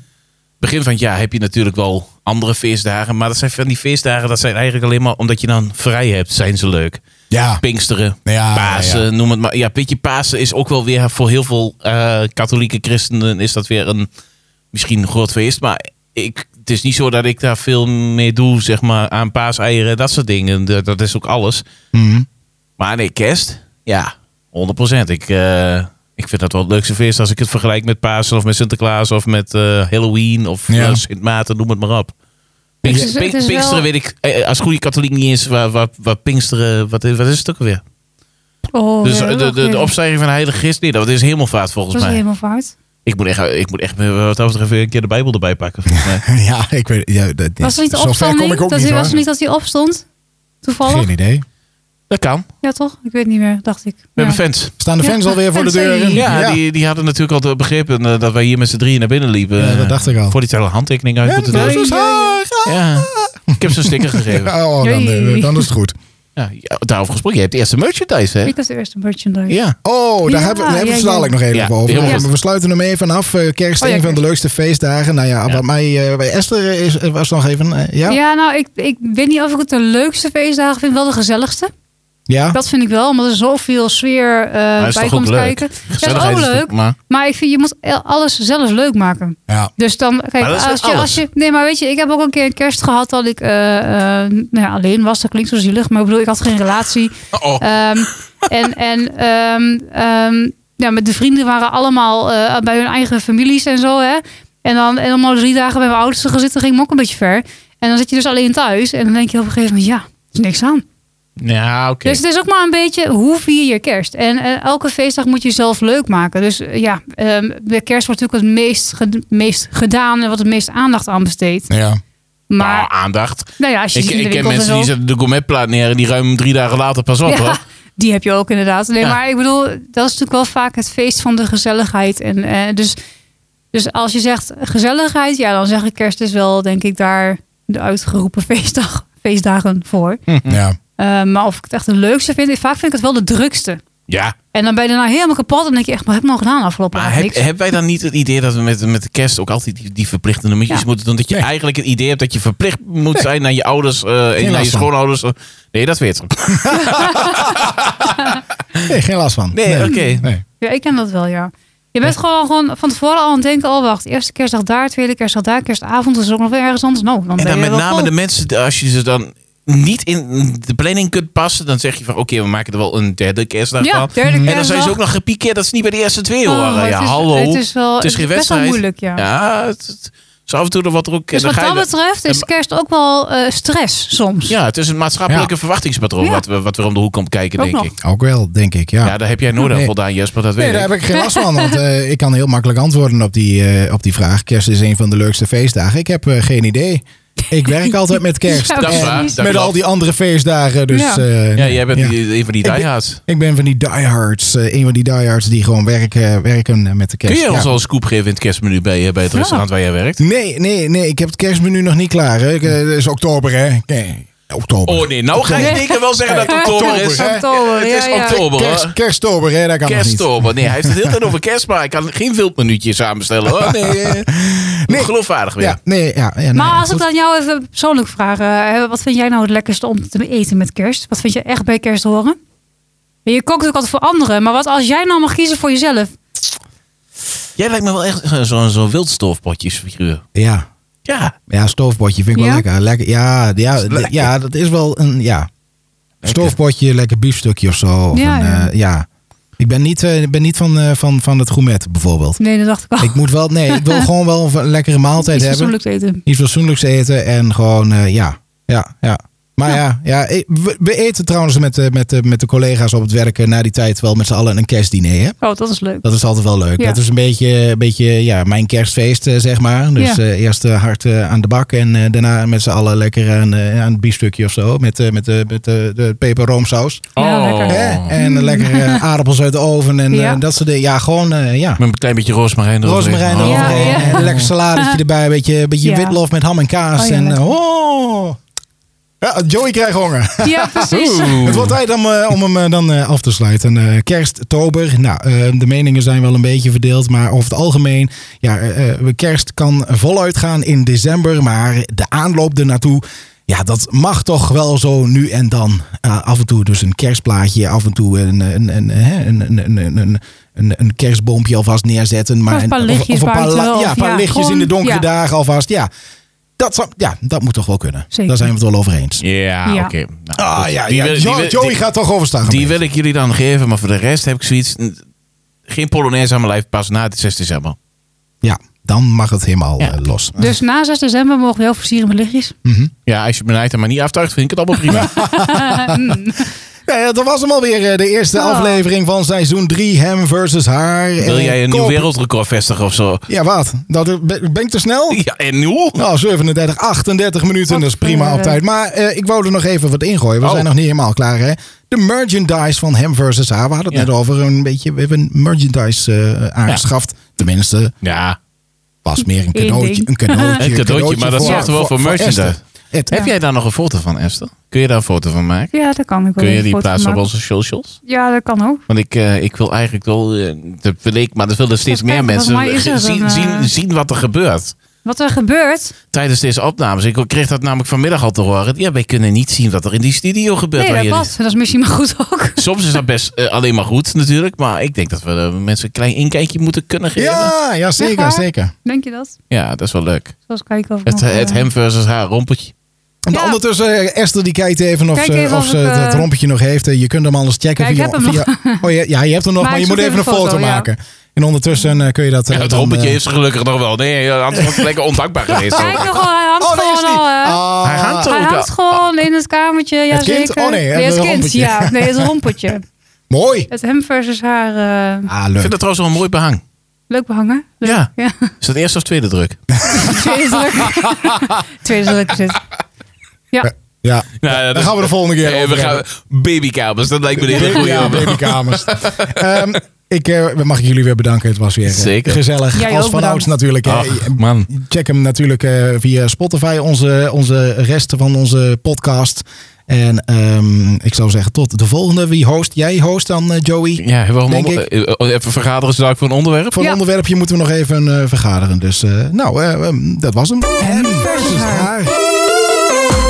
[SPEAKER 3] Begin van het jaar heb je natuurlijk wel andere feestdagen, maar dat zijn van die feestdagen, dat zijn eigenlijk alleen maar omdat je dan vrij hebt, zijn ze leuk.
[SPEAKER 2] Ja.
[SPEAKER 3] Pinksteren,
[SPEAKER 2] Ja,
[SPEAKER 3] Pasen,
[SPEAKER 2] ja.
[SPEAKER 3] noem het maar. Ja, Pietje Pasen is ook wel weer voor heel veel eh, katholieke christenen is dat weer een misschien een groot feest, maar ik, het is niet zo dat ik daar veel mee doe, zeg maar, aan paaseieren, dat soort dingen. Dat, dat is ook alles.
[SPEAKER 2] Mhm.
[SPEAKER 3] Maar nee, kerst? Ja, 100%. Ik, eh, ik vind dat wel het leukste feest als ik het vergelijk met Pasen of met Sinterklaas of met eh, Halloween of
[SPEAKER 2] Ja.
[SPEAKER 3] eh, Sint Maarten, noem het maar op. Pinkst-
[SPEAKER 1] Het is-
[SPEAKER 3] Pink-
[SPEAKER 1] het is wel-
[SPEAKER 3] Pinksteren weet ik eh, als goede katholiek niet eens waar, waar, waar Pinksteren, wat, is- wat is het ook alweer?
[SPEAKER 1] Oh,
[SPEAKER 3] dus
[SPEAKER 1] ja,
[SPEAKER 3] de, de, de,
[SPEAKER 1] wacht even.
[SPEAKER 3] opstijging van de Heilige Christ, nee, dat is helemaal vaart volgens
[SPEAKER 1] Dat is
[SPEAKER 3] mij.
[SPEAKER 1] helemaal vaart.
[SPEAKER 3] Ik moet echt, ik moet echt eh, wat dat betreft weer een keer de Bijbel erbij pakken. volgens mij.
[SPEAKER 2] ja, ik weet ja, dat,
[SPEAKER 1] Was er niet de
[SPEAKER 2] zover
[SPEAKER 1] opstanding?
[SPEAKER 2] kom ik ook
[SPEAKER 1] dat
[SPEAKER 2] niet,
[SPEAKER 1] was
[SPEAKER 2] hoor.
[SPEAKER 1] er niet dat hij opstond? Toevallig?
[SPEAKER 2] Geen idee.
[SPEAKER 3] dat kan. We
[SPEAKER 1] Ja, toch? Ik weet niet meer, dacht ik. Ja.
[SPEAKER 3] hebben fans.
[SPEAKER 2] Staan de
[SPEAKER 1] Ja.
[SPEAKER 2] fans alweer voor de
[SPEAKER 1] Fans,
[SPEAKER 2] deuren?
[SPEAKER 1] hey.
[SPEAKER 3] Ja, Die, die hadden natuurlijk al begrepen eh, dat wij hier met z'n drieën naar binnen liepen.
[SPEAKER 2] Ja, dat
[SPEAKER 3] eh,
[SPEAKER 2] dacht ik al.
[SPEAKER 3] Voor die hele handtekening uit moeten doen.
[SPEAKER 2] Jezus, haar.
[SPEAKER 3] Ja. Ik heb ze een sticker gegeven. Ja.
[SPEAKER 2] Ja, oh, dan, eh, dan is het goed.
[SPEAKER 3] ja, daarover gesproken. Je hebt de eerste merchandise, hè?
[SPEAKER 1] Ik had de eerste merchandise.
[SPEAKER 3] Ja.
[SPEAKER 2] Oh, daar
[SPEAKER 1] Ja,
[SPEAKER 2] hebben we, daar hebben we
[SPEAKER 1] ja,
[SPEAKER 2] het
[SPEAKER 1] ja.
[SPEAKER 2] dadelijk nog even
[SPEAKER 3] Ja,
[SPEAKER 2] over.
[SPEAKER 3] heel
[SPEAKER 2] Maar
[SPEAKER 3] goed.
[SPEAKER 2] We sluiten hem even af. Eh, Kerst,
[SPEAKER 1] Oh ja,
[SPEAKER 2] een van de leukste feestdagen. Nou ja,
[SPEAKER 3] Ja.
[SPEAKER 2] wat mij eh, bij Esther eh, is, eh, was nog even. eh, ja?
[SPEAKER 1] Ja, nou, ik, ik weet niet of ik het de leukste feestdagen vind. Wel de gezelligste.
[SPEAKER 2] Ja?
[SPEAKER 1] Dat vind ik wel, omdat er zoveel sfeer eh
[SPEAKER 3] Maar is
[SPEAKER 1] bij
[SPEAKER 3] toch ook
[SPEAKER 1] komt
[SPEAKER 3] leuk?
[SPEAKER 1] kijken. Ja, dat is
[SPEAKER 3] Gezelligheid
[SPEAKER 1] ook
[SPEAKER 3] is toch-
[SPEAKER 1] oh, leuk.
[SPEAKER 3] Maar,
[SPEAKER 1] Maar ik vind, je moet el- alles zelf leuk maken.
[SPEAKER 2] Ja.
[SPEAKER 1] Dus dan, kijk,
[SPEAKER 3] Maar dat is
[SPEAKER 1] als,
[SPEAKER 3] met
[SPEAKER 1] je,
[SPEAKER 3] alles.
[SPEAKER 1] als je. Nee, maar weet je, ik heb ook een keer een kerst gehad dat ik eh, eh, nou ja, alleen was. Dat klinkt zo zielig, maar ik bedoel, ik had geen relatie.
[SPEAKER 3] oh,
[SPEAKER 1] Ehm, en en ehm, ehm, ja, met de vrienden waren allemaal eh, bij hun eigen families en zo. Hè? En dan en om al drie dagen bij mijn ouders te gaan zitten, ging me ook een beetje ver. En dan zit je dus alleen thuis. En dan denk je op een gegeven moment, ja, er is niks aan.
[SPEAKER 3] Ja, oké.
[SPEAKER 1] Dus het is ook maar een beetje hoe vier je kerst. En eh, elke feestdag moet je jezelf leuk maken. Dus eh, ja, ehm, de kerst wordt natuurlijk het meest, ged- meest gedaan en wat het meest aandacht aan besteedt.
[SPEAKER 2] Ja.
[SPEAKER 1] Maar
[SPEAKER 3] Nou, aandacht.
[SPEAKER 1] nou ja, als je
[SPEAKER 3] Ik,
[SPEAKER 1] ziet in de
[SPEAKER 3] ik ken
[SPEAKER 1] winkels en
[SPEAKER 3] mensen die
[SPEAKER 1] zo-
[SPEAKER 3] zetten de gourmetplaat neer en die ruimen drie dagen later pas op.
[SPEAKER 1] Ja,
[SPEAKER 3] hoor.
[SPEAKER 1] die heb je ook inderdaad. Nee,
[SPEAKER 3] Ja.
[SPEAKER 1] maar ik bedoel, dat is natuurlijk wel vaak het feest van de gezelligheid. En eh, dus, dus als je zegt gezelligheid, ja, dan zeg ik kerst is wel, denk ik, daar de uitgeroepen feestdag, feestdagen voor.
[SPEAKER 3] Hm.
[SPEAKER 2] ja.
[SPEAKER 1] Eh, maar of ik het echt de leukste vind, vaak vind ik het wel de drukste.
[SPEAKER 3] Ja,
[SPEAKER 1] En dan ben je daarna helemaal kapot. En denk je echt, wat heb ik nou gedaan afgelopen
[SPEAKER 3] maar
[SPEAKER 1] jaar?
[SPEAKER 3] heb,
[SPEAKER 1] Niks.
[SPEAKER 3] hebben wij dan niet het idee dat we met, met de kerst ook altijd die, die verplichtende nummertjes
[SPEAKER 1] Ja.
[SPEAKER 3] moeten doen? Dat je
[SPEAKER 2] Nee.
[SPEAKER 3] eigenlijk het idee hebt dat je verplicht moet zijn naar je ouders eh, en naar
[SPEAKER 2] last
[SPEAKER 3] je
[SPEAKER 2] van.
[SPEAKER 3] schoonouders. Nee, dat weet ik.
[SPEAKER 2] Nee, geen last van.
[SPEAKER 3] Nee, oké.
[SPEAKER 2] Nee.
[SPEAKER 1] Ja, ik ken dat wel, ja. Je bent gewoon, gewoon van tevoren al aan het denken, oh wacht, eerste kerstdag daar, tweede kerstdag daar, kerstavond is ook nog weer ergens anders. Nou, dan
[SPEAKER 3] En
[SPEAKER 1] ben
[SPEAKER 3] dan
[SPEAKER 1] je
[SPEAKER 3] met
[SPEAKER 1] wel
[SPEAKER 3] name
[SPEAKER 1] vol.
[SPEAKER 3] de mensen, als je ze dan niet in de planning kunt passen, dan zeg je van oké, we maken er wel een derde kerstdag
[SPEAKER 1] ja,
[SPEAKER 3] van.
[SPEAKER 1] derde kerstdag.
[SPEAKER 3] En dan zijn ze ook nog gepikeerd dat ze niet bij de eerste twee
[SPEAKER 1] Oh,
[SPEAKER 3] horen.
[SPEAKER 1] het
[SPEAKER 3] Ja,
[SPEAKER 1] is-
[SPEAKER 3] hallo.
[SPEAKER 1] Het is, wel,
[SPEAKER 3] Het is geen
[SPEAKER 1] best wel
[SPEAKER 3] wedstrijd.
[SPEAKER 1] moeilijk, ja.
[SPEAKER 3] Ja, het, het is af en toe er wat er ook...
[SPEAKER 1] Dus
[SPEAKER 3] en dan
[SPEAKER 1] wat
[SPEAKER 3] ga je
[SPEAKER 1] dat
[SPEAKER 3] er-
[SPEAKER 1] betreft is kerst ook wel eh, stress soms.
[SPEAKER 3] Ja, het is een maatschappelijke verwachtingspatroon
[SPEAKER 1] Ja.
[SPEAKER 3] wat, we- wat weer om de hoek komt kijken,
[SPEAKER 1] Ook
[SPEAKER 3] denk
[SPEAKER 1] nog.
[SPEAKER 3] ik.
[SPEAKER 2] Ook wel, denk ik. Ja.
[SPEAKER 3] Ja, daar heb jij nooit aan
[SPEAKER 2] Nee.
[SPEAKER 3] voldaan, Jesper, dat weet
[SPEAKER 2] Nee, daar
[SPEAKER 3] ik.
[SPEAKER 2] heb ik geen last van, want eh, ik kan heel makkelijk antwoorden op die, eh, op die vraag. Kerst is een van de leukste feestdagen. Ik heb eh, geen idee. Ik werk altijd met kerst.
[SPEAKER 1] Ja,
[SPEAKER 3] Dat is
[SPEAKER 1] precies.
[SPEAKER 3] waar. dat
[SPEAKER 2] met
[SPEAKER 3] klopt.
[SPEAKER 2] al die andere feestdagen. Dus,
[SPEAKER 1] Ja.
[SPEAKER 2] eh,
[SPEAKER 3] Ja, jij bent
[SPEAKER 2] ja.
[SPEAKER 3] die- een van die
[SPEAKER 2] Ik ben-
[SPEAKER 3] diehards.
[SPEAKER 2] Ik ben van die diehards. eh, een van die diehards die gewoon werken, werken eh, met de kerst.
[SPEAKER 3] Kun jij ons
[SPEAKER 2] Ja.
[SPEAKER 3] al een scoop geven in het kerstmenu bij, eh, bij het
[SPEAKER 1] Ja.
[SPEAKER 3] restaurant waar jij werkt?
[SPEAKER 2] Nee, nee, nee. Ik heb het kerstmenu nog niet klaar. Hè. Ik, eh, Het is oktober, hè? Nee, oktober.
[SPEAKER 3] Oh nee, nou ga je
[SPEAKER 1] Nee.
[SPEAKER 3] zeker wel zeggen dat het
[SPEAKER 1] Oktober,
[SPEAKER 3] oktober is.
[SPEAKER 2] hè?
[SPEAKER 1] Oktober,
[SPEAKER 3] Het is
[SPEAKER 1] ja, ja.
[SPEAKER 3] oktober, hoor.
[SPEAKER 2] Kerst, kerstober, hè? Dat kan nog niet.
[SPEAKER 3] Kersttober. Nee, hij heeft het heel tijd over kerst, maar ik kan geen wildmenuutje samenstellen. Hoor. Nee, eh,
[SPEAKER 2] Nee.
[SPEAKER 3] geloofwaardig weer.
[SPEAKER 2] Ja, nee, ja. ja nou
[SPEAKER 1] Maar
[SPEAKER 2] ja,
[SPEAKER 1] als ik
[SPEAKER 2] goed.
[SPEAKER 1] dan jou even persoonlijk vraag, eh, wat vind jij nou het lekkerste om te eten met kerst? Wat vind je echt bij kerst horen? En Je kookt ook altijd voor anderen, maar wat als jij nou mag kiezen voor jezelf?
[SPEAKER 3] Jij lijkt me wel echt eh, zo'n zo wildstoofpotjesfiguur.
[SPEAKER 2] Ja.
[SPEAKER 3] Ja.
[SPEAKER 2] Ja, stoofpotje vind ik
[SPEAKER 1] Ja?
[SPEAKER 2] wel lekker. lekker ja, ja,
[SPEAKER 3] Is lekker.
[SPEAKER 2] ja, dat is wel een. Ja.
[SPEAKER 3] Lekker.
[SPEAKER 2] Stoofpotje, lekker biefstukje of zo. Of
[SPEAKER 1] Ja,
[SPEAKER 2] een,
[SPEAKER 1] ja.
[SPEAKER 2] eh, ja. Ik ben niet, eh, ik ben niet van, eh, van, van het gourmet bijvoorbeeld.
[SPEAKER 1] Nee, dat dacht ik al.
[SPEAKER 2] Ik moet wel. Nee, ik wil gewoon wel een lekkere maaltijd
[SPEAKER 1] Iets
[SPEAKER 2] hebben.
[SPEAKER 1] persoonlijks eten.
[SPEAKER 2] Iets fatsoenlijks eten en gewoon. eh, ja. Ja, ja. Maar ja, ja, ik- we, we eten trouwens met, eh, met, eh, met de collega's op het werk eh, na die tijd wel met z'n allen een kerstdiner. Hè?
[SPEAKER 1] Oh, dat is leuk.
[SPEAKER 2] Dat is altijd wel leuk.
[SPEAKER 1] Ja.
[SPEAKER 2] Dat is een beetje, een beetje ja, mijn kerstfeest, eh, zeg maar. Dus
[SPEAKER 1] Ja.
[SPEAKER 2] eh, eerst eh, hard eh, aan de bak en eh, daarna met z'n allen lekker aan, eh, aan het biefstukje of zo. Met, eh, met, eh, met eh, de peperroomsaus.
[SPEAKER 1] Ja,
[SPEAKER 3] Oh.
[SPEAKER 1] lekker.
[SPEAKER 2] Hè? En lekker eh, aardappels uit de oven en eh,
[SPEAKER 1] Oh. Mm. Ja.
[SPEAKER 2] dat soort dingen. Ja, gewoon eh, ja.
[SPEAKER 3] Met een klein beetje roosmarijn eroverheen.
[SPEAKER 2] rozemarijn
[SPEAKER 3] Oh.
[SPEAKER 1] Ja,
[SPEAKER 2] eroverheen.
[SPEAKER 1] ja.
[SPEAKER 2] en Een lekker saladetje erbij. Een beetje, een beetje
[SPEAKER 1] Ja.
[SPEAKER 2] witlof met ham en kaas.
[SPEAKER 1] Oh ja,
[SPEAKER 2] en eh,
[SPEAKER 1] lekker.
[SPEAKER 2] oh. Ja, Joey krijgt honger.
[SPEAKER 1] Ja, precies.
[SPEAKER 2] Het wordt tijd om, eh, om hem eh, dan eh, af te sluiten. Eh, kerst, tober. Nou, eh, de meningen zijn wel een beetje verdeeld. Maar over het algemeen, ja, eh, eh, kerst kan voluit gaan in december. Maar de aanloop ernaartoe, ja, dat mag toch wel zo nu en dan. Eh, af en toe dus een kerstplaatje. Af en toe een, een, een, hè, een, een, een, een, een, een, een kerstboompje alvast neerzetten. Maar
[SPEAKER 1] Of een paar lichtjes
[SPEAKER 2] la-
[SPEAKER 1] buiten,
[SPEAKER 2] ja,
[SPEAKER 1] of
[SPEAKER 2] een paar
[SPEAKER 1] ja,
[SPEAKER 2] lichtjes in de
[SPEAKER 1] gewoon,
[SPEAKER 2] donkere
[SPEAKER 1] ja.
[SPEAKER 2] dagen alvast. Ja. Dat, zou- ja, dat moet toch wel kunnen.
[SPEAKER 1] Zeker.
[SPEAKER 2] Daar zijn we het wel over eens.
[SPEAKER 3] Ja,
[SPEAKER 1] Ja.
[SPEAKER 3] oké. Nou,
[SPEAKER 2] Ah
[SPEAKER 3] goed.
[SPEAKER 2] ja,
[SPEAKER 3] Die
[SPEAKER 2] ja.
[SPEAKER 3] wil- die
[SPEAKER 2] Jo-
[SPEAKER 3] wil-
[SPEAKER 2] Joey
[SPEAKER 3] die-
[SPEAKER 2] gaat toch overstaan.
[SPEAKER 3] Die wil ik jullie dan geven, maar voor de rest heb ik zoiets... n- Geen Polonaise aan mijn lijf pas na het 6 december.
[SPEAKER 2] Ja, dan mag het helemaal
[SPEAKER 3] Ja.
[SPEAKER 2] eh, los.
[SPEAKER 1] Dus na 6 december mogen we heel versieren met lichtjes.
[SPEAKER 2] Mhm.
[SPEAKER 3] Ja, als je mijn item maar niet aftuigt, vind ik het allemaal prima.
[SPEAKER 2] Nou ja, dat was hem alweer eh, de eerste
[SPEAKER 1] Ah.
[SPEAKER 2] aflevering van seizoen 3, hem versus haar.
[SPEAKER 3] Wil
[SPEAKER 2] Eh,
[SPEAKER 3] jij een nieuw
[SPEAKER 2] koop-
[SPEAKER 3] wereldrecord vestigen of zo?
[SPEAKER 2] Ja, wat? Dat, ben ben ik te snel?
[SPEAKER 3] Ja, en nieuw?
[SPEAKER 2] Nou, 37, 38 minuten,
[SPEAKER 1] Wat
[SPEAKER 2] dat is prima
[SPEAKER 1] voor,
[SPEAKER 2] op tijd. Maar eh, ik wou er nog even wat ingooien. We
[SPEAKER 3] Oh.
[SPEAKER 2] zijn nog niet helemaal klaar, hè? De merchandise van hem versus haar. We hadden het
[SPEAKER 3] Ja.
[SPEAKER 2] net over een beetje. We hebben merchandise eh, aangeschaft. Tenminste,
[SPEAKER 3] Ja.
[SPEAKER 2] was meer een
[SPEAKER 1] Eén
[SPEAKER 2] cadeautje.
[SPEAKER 1] ding.
[SPEAKER 2] Een cadeautje,
[SPEAKER 3] Een cadeautje, maar dat zorgt wel voor merchandise.
[SPEAKER 2] Esther. Het-
[SPEAKER 3] Heb jij daar nog een foto van, Esther? Kun je daar een foto van maken?
[SPEAKER 1] Ja, dat kan ik wel.
[SPEAKER 3] Kun je
[SPEAKER 1] even
[SPEAKER 3] die
[SPEAKER 1] foto
[SPEAKER 3] plaatsen op
[SPEAKER 1] maken.
[SPEAKER 3] onze socials?
[SPEAKER 1] Ja, dat kan ook.
[SPEAKER 3] Want ik, eh, ik wil eigenlijk wel, eh, dat wil ik, maar dat willen steeds
[SPEAKER 1] Even
[SPEAKER 3] meer
[SPEAKER 1] kijken,
[SPEAKER 3] mensen
[SPEAKER 1] volgens mij is er
[SPEAKER 3] zien,
[SPEAKER 1] een, eh,
[SPEAKER 3] zien, zien wat er gebeurt
[SPEAKER 1] Wat er gebeurt.
[SPEAKER 3] tijdens deze opnames. Ik kreeg dat namelijk vanmiddag al te horen. Ja, wij kunnen niet zien wat er in die studio gebeurt.
[SPEAKER 1] Nee,
[SPEAKER 3] waar
[SPEAKER 1] dat
[SPEAKER 3] jullie-
[SPEAKER 1] past. Dat is misschien maar goed ook.
[SPEAKER 3] Soms is dat best eh, alleen maar goed natuurlijk, maar ik denk dat we eh, mensen een klein inkijkje moeten kunnen geven.
[SPEAKER 2] Ja, ja,
[SPEAKER 1] Echt
[SPEAKER 2] zeker,
[SPEAKER 1] waar?
[SPEAKER 2] zeker.
[SPEAKER 1] Denk je dat?
[SPEAKER 3] Ja, dat is wel leuk.
[SPEAKER 1] Zoals kijken of ik
[SPEAKER 3] Het,
[SPEAKER 1] nog,
[SPEAKER 3] het
[SPEAKER 1] eh,
[SPEAKER 3] hem versus haar rompeltje.
[SPEAKER 2] En
[SPEAKER 1] Ja.
[SPEAKER 2] Ondertussen, eh, Esther die kijkt even of
[SPEAKER 1] Kijk
[SPEAKER 2] ze,
[SPEAKER 1] even
[SPEAKER 2] of
[SPEAKER 1] of
[SPEAKER 2] ze
[SPEAKER 1] ik, eh,
[SPEAKER 2] dat rompetje nog heeft. Eh, Je kunt hem alles checken.
[SPEAKER 1] Ja, ik
[SPEAKER 2] via,
[SPEAKER 1] heb hem
[SPEAKER 2] via- Oh, ja, ja, je hebt hem nog,
[SPEAKER 1] Maar
[SPEAKER 2] maar
[SPEAKER 1] ik
[SPEAKER 2] je moet
[SPEAKER 1] zoek
[SPEAKER 2] even een foto,
[SPEAKER 1] ja.
[SPEAKER 2] maken. En ondertussen eh, kun je dat... eh,
[SPEAKER 3] het
[SPEAKER 2] dan,
[SPEAKER 3] rompeltje
[SPEAKER 2] eh,
[SPEAKER 3] is gelukkig nog wel. Nee, eh, anders was het lekker ondankbaar geweest.
[SPEAKER 1] Kijk nog wel, hij hangt
[SPEAKER 2] Oh, daar
[SPEAKER 1] gewoon
[SPEAKER 2] is hij!
[SPEAKER 1] al. eh.
[SPEAKER 2] Ah,
[SPEAKER 3] Hij hangt
[SPEAKER 1] Hij
[SPEAKER 3] ook al.
[SPEAKER 1] hangt gewoon in het kamertje, ja
[SPEAKER 2] Het kind?
[SPEAKER 1] zeker.
[SPEAKER 2] Oh, nee, het
[SPEAKER 1] het kind,
[SPEAKER 2] rompertje.
[SPEAKER 1] ja. Nee, het rompertje.
[SPEAKER 2] Mooi.
[SPEAKER 1] Het hem versus haar, eh,
[SPEAKER 2] Ah,
[SPEAKER 3] Ik
[SPEAKER 2] leuk.
[SPEAKER 3] vind dat trouwens wel een mooi behang.
[SPEAKER 1] leuk behangen. Leuk.
[SPEAKER 3] Ja.
[SPEAKER 1] ja.
[SPEAKER 3] Is dat eerste of tweede druk?
[SPEAKER 1] Tweede druk. Tweede druk is dit. Ja,
[SPEAKER 2] Ja,
[SPEAKER 3] Nou, dat
[SPEAKER 2] daar
[SPEAKER 3] is-
[SPEAKER 2] gaan we de volgende keer
[SPEAKER 3] Eh,
[SPEAKER 2] over
[SPEAKER 3] we gaan
[SPEAKER 2] hebben.
[SPEAKER 3] babykamers, dat lijkt me een hele
[SPEAKER 2] Baby-
[SPEAKER 3] goede
[SPEAKER 2] ja,
[SPEAKER 3] opbouw.
[SPEAKER 2] babykamers. Ehm, ik eh, mag ik jullie weer bedanken. Het was weer eh,
[SPEAKER 3] Zeker.
[SPEAKER 2] gezellig.
[SPEAKER 1] Jij
[SPEAKER 2] Als
[SPEAKER 1] ook
[SPEAKER 2] vanouds
[SPEAKER 1] bedankt.
[SPEAKER 2] natuurlijk. eh,
[SPEAKER 3] Ach, man.
[SPEAKER 2] Check hem natuurlijk eh, via Spotify, onze, onze resten van onze podcast. En ehm, ik zou zeggen, tot de volgende. Wie host? Jij host dan, eh, Joey?
[SPEAKER 3] Ja, hebben we
[SPEAKER 2] Denk
[SPEAKER 3] allemaal- eh, eh, even vergaderen zodat voor een onderwerp.
[SPEAKER 2] Voor een
[SPEAKER 1] Ja.
[SPEAKER 2] onderwerpje moeten we nog even eh, vergaderen. Dus eh, nou, eh, ehm, dat was hem.
[SPEAKER 1] Hem versus haar.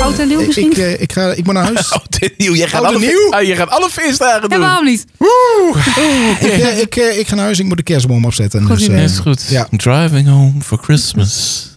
[SPEAKER 1] oud en nieuw
[SPEAKER 2] Ik,
[SPEAKER 1] misschien?
[SPEAKER 2] ik, eh, ik, ga, ik moet naar huis.
[SPEAKER 3] Oh, dit nieuw. Jij gaat,
[SPEAKER 2] Oh, dit
[SPEAKER 3] alle,
[SPEAKER 2] nieuw?
[SPEAKER 3] Ah, jij gaat alle feestdagen
[SPEAKER 1] ja,
[SPEAKER 3] doen.
[SPEAKER 1] waarom niet?
[SPEAKER 2] ik, eh, ik, eh, ik ga naar huis. Ik moet de kerstboom opzetten.
[SPEAKER 1] Goed
[SPEAKER 2] dus,
[SPEAKER 1] idee.
[SPEAKER 2] eh,
[SPEAKER 1] Ja,
[SPEAKER 3] is goed.
[SPEAKER 2] Ja.
[SPEAKER 3] Driving home for Christmas.